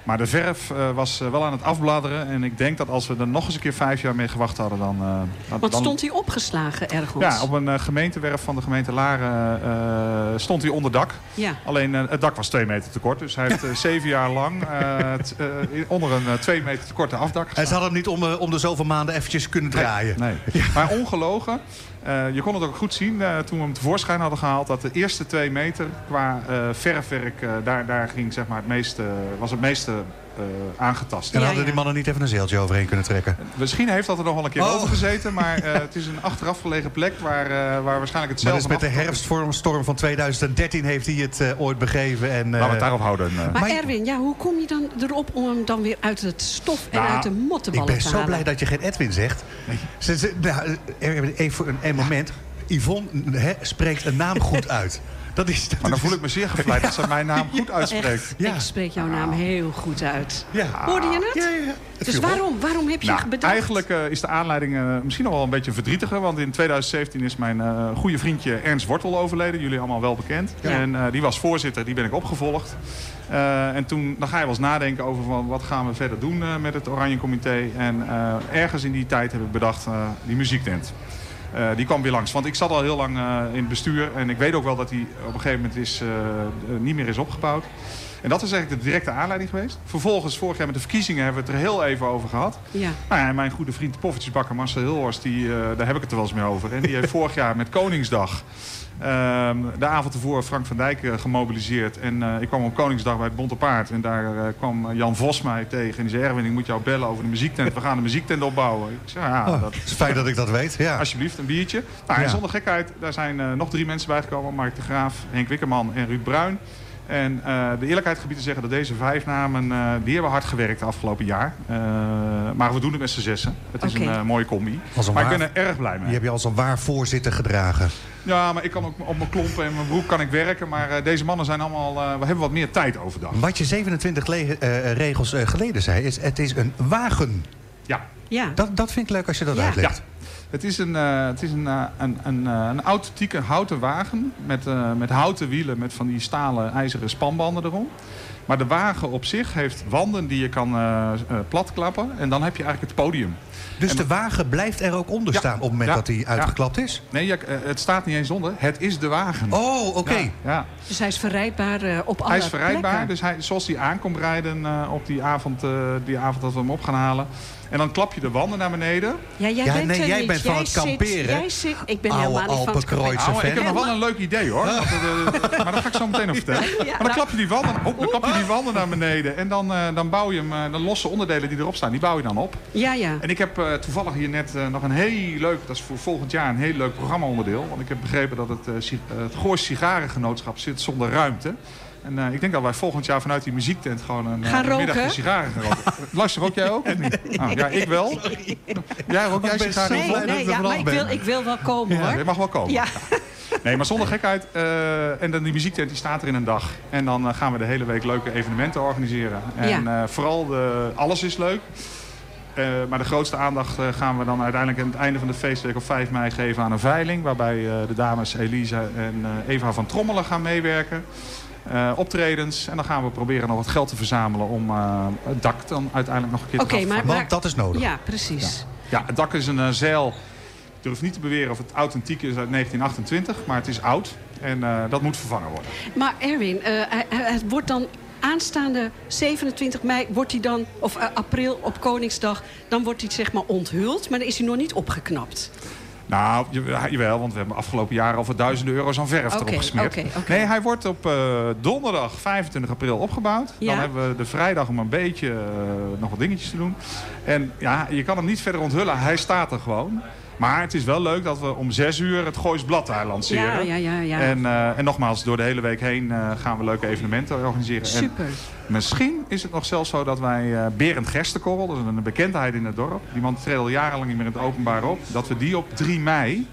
I: Maar de verf eh, was eh, wel aan het afbladderen. En ik denk dat als we er nog eens een keer vijf jaar mee gewacht hadden... dan, eh, dan-
B: Want
I: dan-
B: stond hij opgeslagen ergens?
I: Ja, op een eh, gemeentewerf van de gemeente Laren eh, stond hij onder dak.
B: Ja.
I: Alleen eh, het dak was twee meter te kort. Dus hij
A: *laughs*
I: heeft eh, zeven jaar lang eh, t- eh, onder een eh, twee meter te korte afdak
A: En ze hadden hem niet om, eh, om de zoveel maanden eventjes kunnen draaien.
I: Nee. Maar ongelogen, eh, je kon het ook goed zien eh, toen we hem tevoorschijn hadden gehaald... dat de eerste twee meter qua eh, verfwerk, eh, daar, daar ging, zeg maar, het meeste, was het meeste eh, aangetast.
A: En
B: Ja,
A: hadden
B: ja.
A: die mannen niet even een zeiltje overheen kunnen trekken.
I: Misschien heeft dat er nog wel een keer
A: Oh.
I: over gezeten... maar eh, het is een achteraf gelegen plek waar, eh, waar waarschijnlijk
A: Maar
I: hetzelfde...
A: dus met de herfststorm van 2013 heeft hij het eh, ooit begeven. En, eh,
I: Laten we het daarop houden. eh.
B: Maar,
A: Maar-
B: Erwin, ja, hoe kom je dan erop om hem dan weer uit het stof en
I: Nou,
B: uit de
A: ik
B: mottenballen
A: ben
B: te
A: zo
B: halen?
A: blij dat je geen Edwin zegt. Ze, ze- nou, Erwin, even voor een, een moment. Yvonne hè, spreekt een naam goed
I: *laughs*
A: uit. Dat is, dat
I: Maar dan
A: is-
I: voel ik me zeer gevleid dat ze mijn naam goed
A: *laughs*
I: uitspreekt.
B: Echt,
A: Ja.
B: ik spreek jouw naam heel goed uit.
A: Ja.
B: Hoorde je het?
A: Ja, ja, ja. Het
B: Dus
A: viel op.
B: waarom, waarom heb je
I: Nou,
B: bedacht?
I: eigenlijk eh, is de aanleiding eh, misschien nog wel een beetje verdrietiger. Want in 2017 is mijn eh, goede vriendje Ernst Wortel overleden. Jullie allemaal wel bekend.
B: Ja.
I: En eh, die was voorzitter, die ben ik opgevolgd. Eh, en toen dan ga je wel eens nadenken over van, wat gaan we verder doen eh, met het Oranje Comité. En eh, ergens in die tijd heb ik bedacht, eh, die muziektent. Eh, die kwam weer langs. Want ik zat al heel lang eh, in het bestuur. En ik weet ook wel dat die op een gegeven moment is, eh, eh, niet meer is opgebouwd. En dat is eigenlijk de directe aanleiding geweest. Vervolgens, vorig jaar met de verkiezingen, hebben we het er heel even over gehad.
B: Ja.
I: Nou ja, mijn goede vriend poffertjesbakker Marcel Hilhorst, die, eh, daar heb ik het er wel eens mee over. En die heeft vorig jaar met Koningsdag ehm, de avond ervoor Frank van Dijk eh, gemobiliseerd. En eh, ik kwam op Koningsdag bij het Bonte Paard. En daar eh, kwam Jan Vos mij tegen. En die zei, Erwin, ik moet jou bellen over de muziektent. We gaan de muziektent opbouwen. Ik zei, ja,
A: Oh,
I: dat,
A: het is fijn dat ik dat weet. Ja.
I: alsjeblieft, een biertje. Nou, en
A: Ja.
I: zonder gekheid, daar zijn eh, nog drie mensen bijgekomen. Mark de Graaf, Henk Wikkerman en Ruud Bruin. En eh, de eerlijkheid gebied te zeggen dat deze vijf namen, eh, die hebben hard gewerkt afgelopen jaar. Eh, maar we doen het met z'n zessen. Het is
B: Oké.
I: een eh, mooie combi.
A: Als een
I: Maar ik
A: waar-
I: ben er erg blij
A: Die
I: mee.
A: heb je als een waar voorzitter gedragen.
I: Ja, maar ik kan ook op mijn klompen en mijn broek kan ik werken. Maar eh, deze mannen zijn allemaal, eh, we hebben wat meer tijd overdag.
A: Wat je 27 le- eh, regels eh, geleden zei, is het is een wagen.
I: Ja.
B: Ja.
A: Dat, dat vind ik leuk als je dat
B: Ja.
A: uitlegt.
I: Het is een, eh, het is een, eh, een, een, eh, een authentieke houten wagen met, eh, met houten wielen met van die stalen ijzeren spanbanden erom. Maar de wagen op zich heeft wanden die je kan eh, eh, platklappen en dan heb je eigenlijk het podium.
A: Dus
I: En-
A: de wagen blijft er ook onder
I: Ja.
A: staan op het moment
I: Ja.
A: dat hij uitgeklapt is?
I: Nee, ja, eh, het staat niet eens onder. Het is de wagen.
A: Oh, oké.
I: Ja, ja.
B: Dus hij is verrijdbaar eh, op alle
I: Hij is verrijdbaar,
B: plekken.
I: dus hij, zoals hij aankomt rijden eh, op die avond, eh, die avond dat we hem op gaan halen. En dan klap je de wanden naar beneden.
B: Ja, jij
A: Ja,
B: bent
A: nee,
B: er
A: jij
B: niet.
A: bent van het
B: zit-
A: kamperen.
B: jij zit, ik ben
A: Oude
B: helemaal niet van het kamperen.
A: Alpenkreutzer.
I: Nou, ik heb
A: fan.
I: nog wel een leuk idee hoor. Dat het, eh, maar dat ga ik zo meteen nog vertellen.
B: *laughs* Ja,
I: Maar dan
B: nou.
I: klap je die wanden, oh, dan klap je die wanden naar beneden. En dan, eh, dan bouw je hem, eh, dan losse onderdelen die erop staan, die bouw je dan op.
B: Ja, ja.
I: En ik heb eh, toevallig hier net eh, nog een heel leuk, dat is voor volgend jaar een heel leuk programma-onderdeel. Want ik heb begrepen dat het, eh si- eh, het Goors Sigarengenootschap zit zonder ruimte. En eh, ik denk dat wij volgend jaar vanuit die muziektent gewoon een, eh,
B: Gaan
I: een
B: roken?
I: middagje sigaren gaan roken.
B: *laughs*
I: Luister, rook jij ook? of niet? Ah, ja, ik wel. Jij rook jij
A: Ik ben
I: sigaren?
A: zo blij
B: Nee,
A: dat ik
B: nee,
A: er
B: ja,
A: vanaf
B: maar ik
A: ben.
B: wil, ik wil wel komen
I: Ja,
B: hoor.
I: je mag wel komen.
B: Ja.
I: *laughs* Nee, maar zonder gekheid. eh, en dan die muziektent die staat er in een dag. En dan eh, gaan we de hele week leuke evenementen organiseren. En eh, vooral de, alles is leuk. Eh, maar de grootste aandacht eh, gaan we dan uiteindelijk aan het einde van de feestweek op 5 mei geven aan een veiling. Waarbij eh, de dames Elisa en eh, Eva van Trommelen gaan meewerken. Eh, optredens. En dan gaan we proberen nog wat geld te verzamelen om eh, het dak dan uiteindelijk nog een keer
B: Oké,
I: te gaan
B: maar, maar
A: Want dat is nodig.
B: ja, precies.
I: ja, het dak is een eh, zeil. Ik durf niet te beweren of het authentiek is uit 1928, maar het is oud. En eh, dat moet vervangen worden.
B: Maar Erwin, eh, hij- hij- het wordt dan aanstaande 27 mei, wordt hij dan, of eh, april op Koningsdag, dan wordt hij zeg maar onthuld, maar dan is hij nog niet opgeknapt.
I: Nou, je- jawel, want we hebben afgelopen jaren al voor duizenden euro's aan verf
B: Oké,
I: erop gesmeerd.
B: oké, oké.
I: Nee, hij wordt op eh, donderdag 25 april opgebouwd.
B: Ja.
I: Dan hebben we de vrijdag om een beetje eh, nog wat dingetjes te doen. En ja, je kan hem niet verder onthullen. Hij staat er gewoon. Maar het is wel leuk dat we om 6 uur het Goois Blad daar lanceren.
B: Ja, ja, ja, ja.
I: En, eh, en nogmaals, door de hele week heen eh, gaan we leuke evenementen organiseren. En
B: Super.
I: Misschien is het nog zelfs zo dat wij eh, Berend Gerstenkorrel, dat is een bekendheid in het dorp, die man treedt al jarenlang niet meer in het openbaar op, dat we die op 3 mei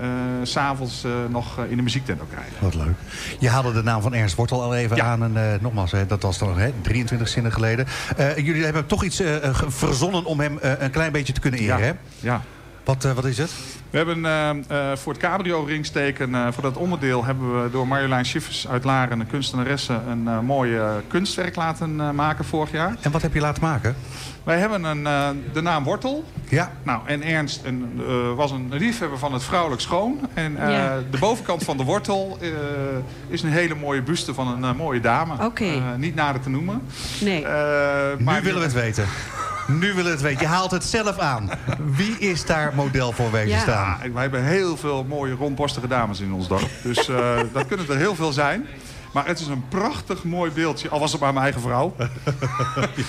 I: eh, s s'avonds nog eh, in de muziektent ook krijgen.
A: Wat leuk. Je haalde de naam van Ernst Wortel al even
I: Ja.
A: aan. En eh, nogmaals, hè, dat was dan hè, 23 zinnen geleden. Eh, jullie hebben toch iets eh, eh, ge- verzonnen om hem eh, een klein beetje te kunnen eren. Hè?
I: ja.
A: Wat, eh, wat is het?
I: We hebben eh, eh, voor het cabrio-ringsteken, eh, voor dat onderdeel, hebben we door Marjolein Schiffers uit Laren, een kunstenaresse, een eh mooi eh, kunstwerk laten eh, maken vorig jaar.
A: En wat heb je laten maken?
I: Wij hebben een, eh, de naam Wortel.
A: Ja.
I: Nou, en Ernst een, eh, was een liefhebber van het vrouwelijk schoon. En eh,
B: Ja.
I: de bovenkant van de wortel eh, is een hele mooie buste van een eh, mooie dame.
B: Oké.
I: Eh, niet nader te noemen.
B: Nee.
I: Eh,
A: nu willen we het weten. Nu willen we het weten. Je haalt het zelf aan. Wie is daar model voor wezen
B: Ja.
A: staan?
I: Ah, wij hebben heel veel mooie rondborstige dames in ons dorp. Dus
B: *laughs*
I: eh, dat kunnen er heel veel zijn. Maar het is een prachtig mooi beeldje. Al was het maar mijn eigen vrouw.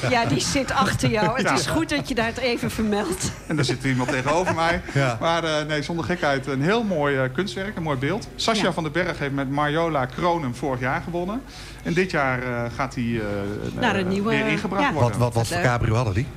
B: Ja,
I: *laughs*
B: die zit achter jou. Het
I: Ja.
B: is goed dat je daar het even vermeldt.
I: *laughs* En daar zit er iemand tegenover mij.
A: *laughs* Ja.
I: Maar eh, nee, zonder gekheid, een heel mooi eh, kunstwerk, een mooi beeld. Sascha
B: Ja.
I: van den Berg heeft met Marjola Kronen vorig jaar gewonnen. En dit jaar eh, gaat hij
B: Naar een nieuwe-
I: weer ingebracht
B: ja.
A: Wat,
I: worden.
A: wat, wat voor
B: Leuk.
A: cabrio hadden die?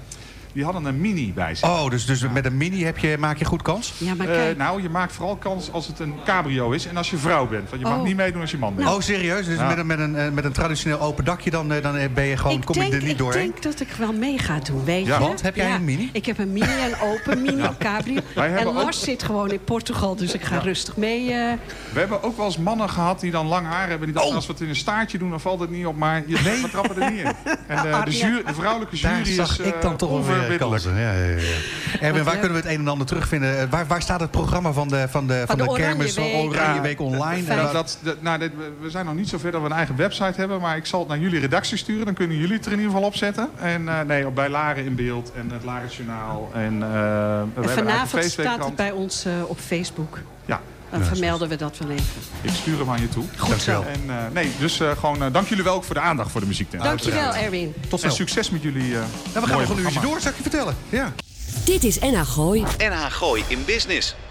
I: Die hadden een mini bij zich.
A: Oh, dus, dus met een mini heb je, maak je goed kans?
B: Ja, maar
I: Eh,
B: kijk.
I: nou, je maakt vooral kans als het een cabrio is en als je vrouw bent. Want je
B: Oh.
I: mag niet meedoen als je man bent.
A: Oh, serieus? Dus
I: Ja.
A: met, een, met, een, eh, met een traditioneel open dakje dan, eh, dan eh, ben je gewoon,
B: ik
A: kom
B: denk,
A: je er niet
B: ik
A: doorheen?
B: denk dat ik wel mee ga doen, weet
I: Ja.
B: je.
A: Want, heb jij een mini?
B: Ik heb een mini, een open mini, een cabrio.
I: Wij
B: En
I: hebben ook-
B: Lars zit gewoon in Portugal, dus ik ga rustig mee. eh.
I: We hebben ook wel eens mannen gehad die dan lang haar hebben. Die
A: Oh.
I: dachten, als we het in een staartje doen, dan valt het niet op. Maar je, we trappen er niet in. En eh, de,
B: *laughs*
I: jury- de vrouwelijke jury
A: Daar
I: is
A: zag ik dan
I: eh,
A: toch wel weer
I: onverbiddelijk.
A: kansen. Ja, ja, ja. Erwin, waar kunnen we het een en ander terugvinden? Eh, Waar, waar staat het programma van de, van de, Eh, van
B: de
A: de, kermis van
B: Oranjeweek.
A: Oranje Week online? eh.
B: Fijn.
A: En
I: Dat,
A: waar-
I: dat, dat- nou, dit- we- we zijn nog niet zover dat we een eigen website hebben, maar ik zal het naar jullie redactie sturen. Dan kunnen jullie het er in ieder geval op zetten. En eh, nee, op bij Laren in beeld en het Laren Journaal. En, eh, we hebben
B: En
I: een eigen
B: vanavond
I: feestweekkrant.
B: staat het bij ons eh, op Facebook.
I: Ja,
B: Dan vermelden we dat wel even.
I: ik stuur hem aan je toe.
A: Goed zo.
I: En, eh, nee, dus eh, gewoon eh, dank jullie wel ook voor de aandacht voor de muziektent.
B: Dankjewel, Erwin.
A: Tot
I: En
A: snel.
I: succes met jullie. eh,
A: Nou, we gaan
I: mooie
A: nog een uurtje
I: programma.
A: door, zal ik je vertellen. Ja.
J: Dit is NH Gooi.
K: NH Gooi in Business.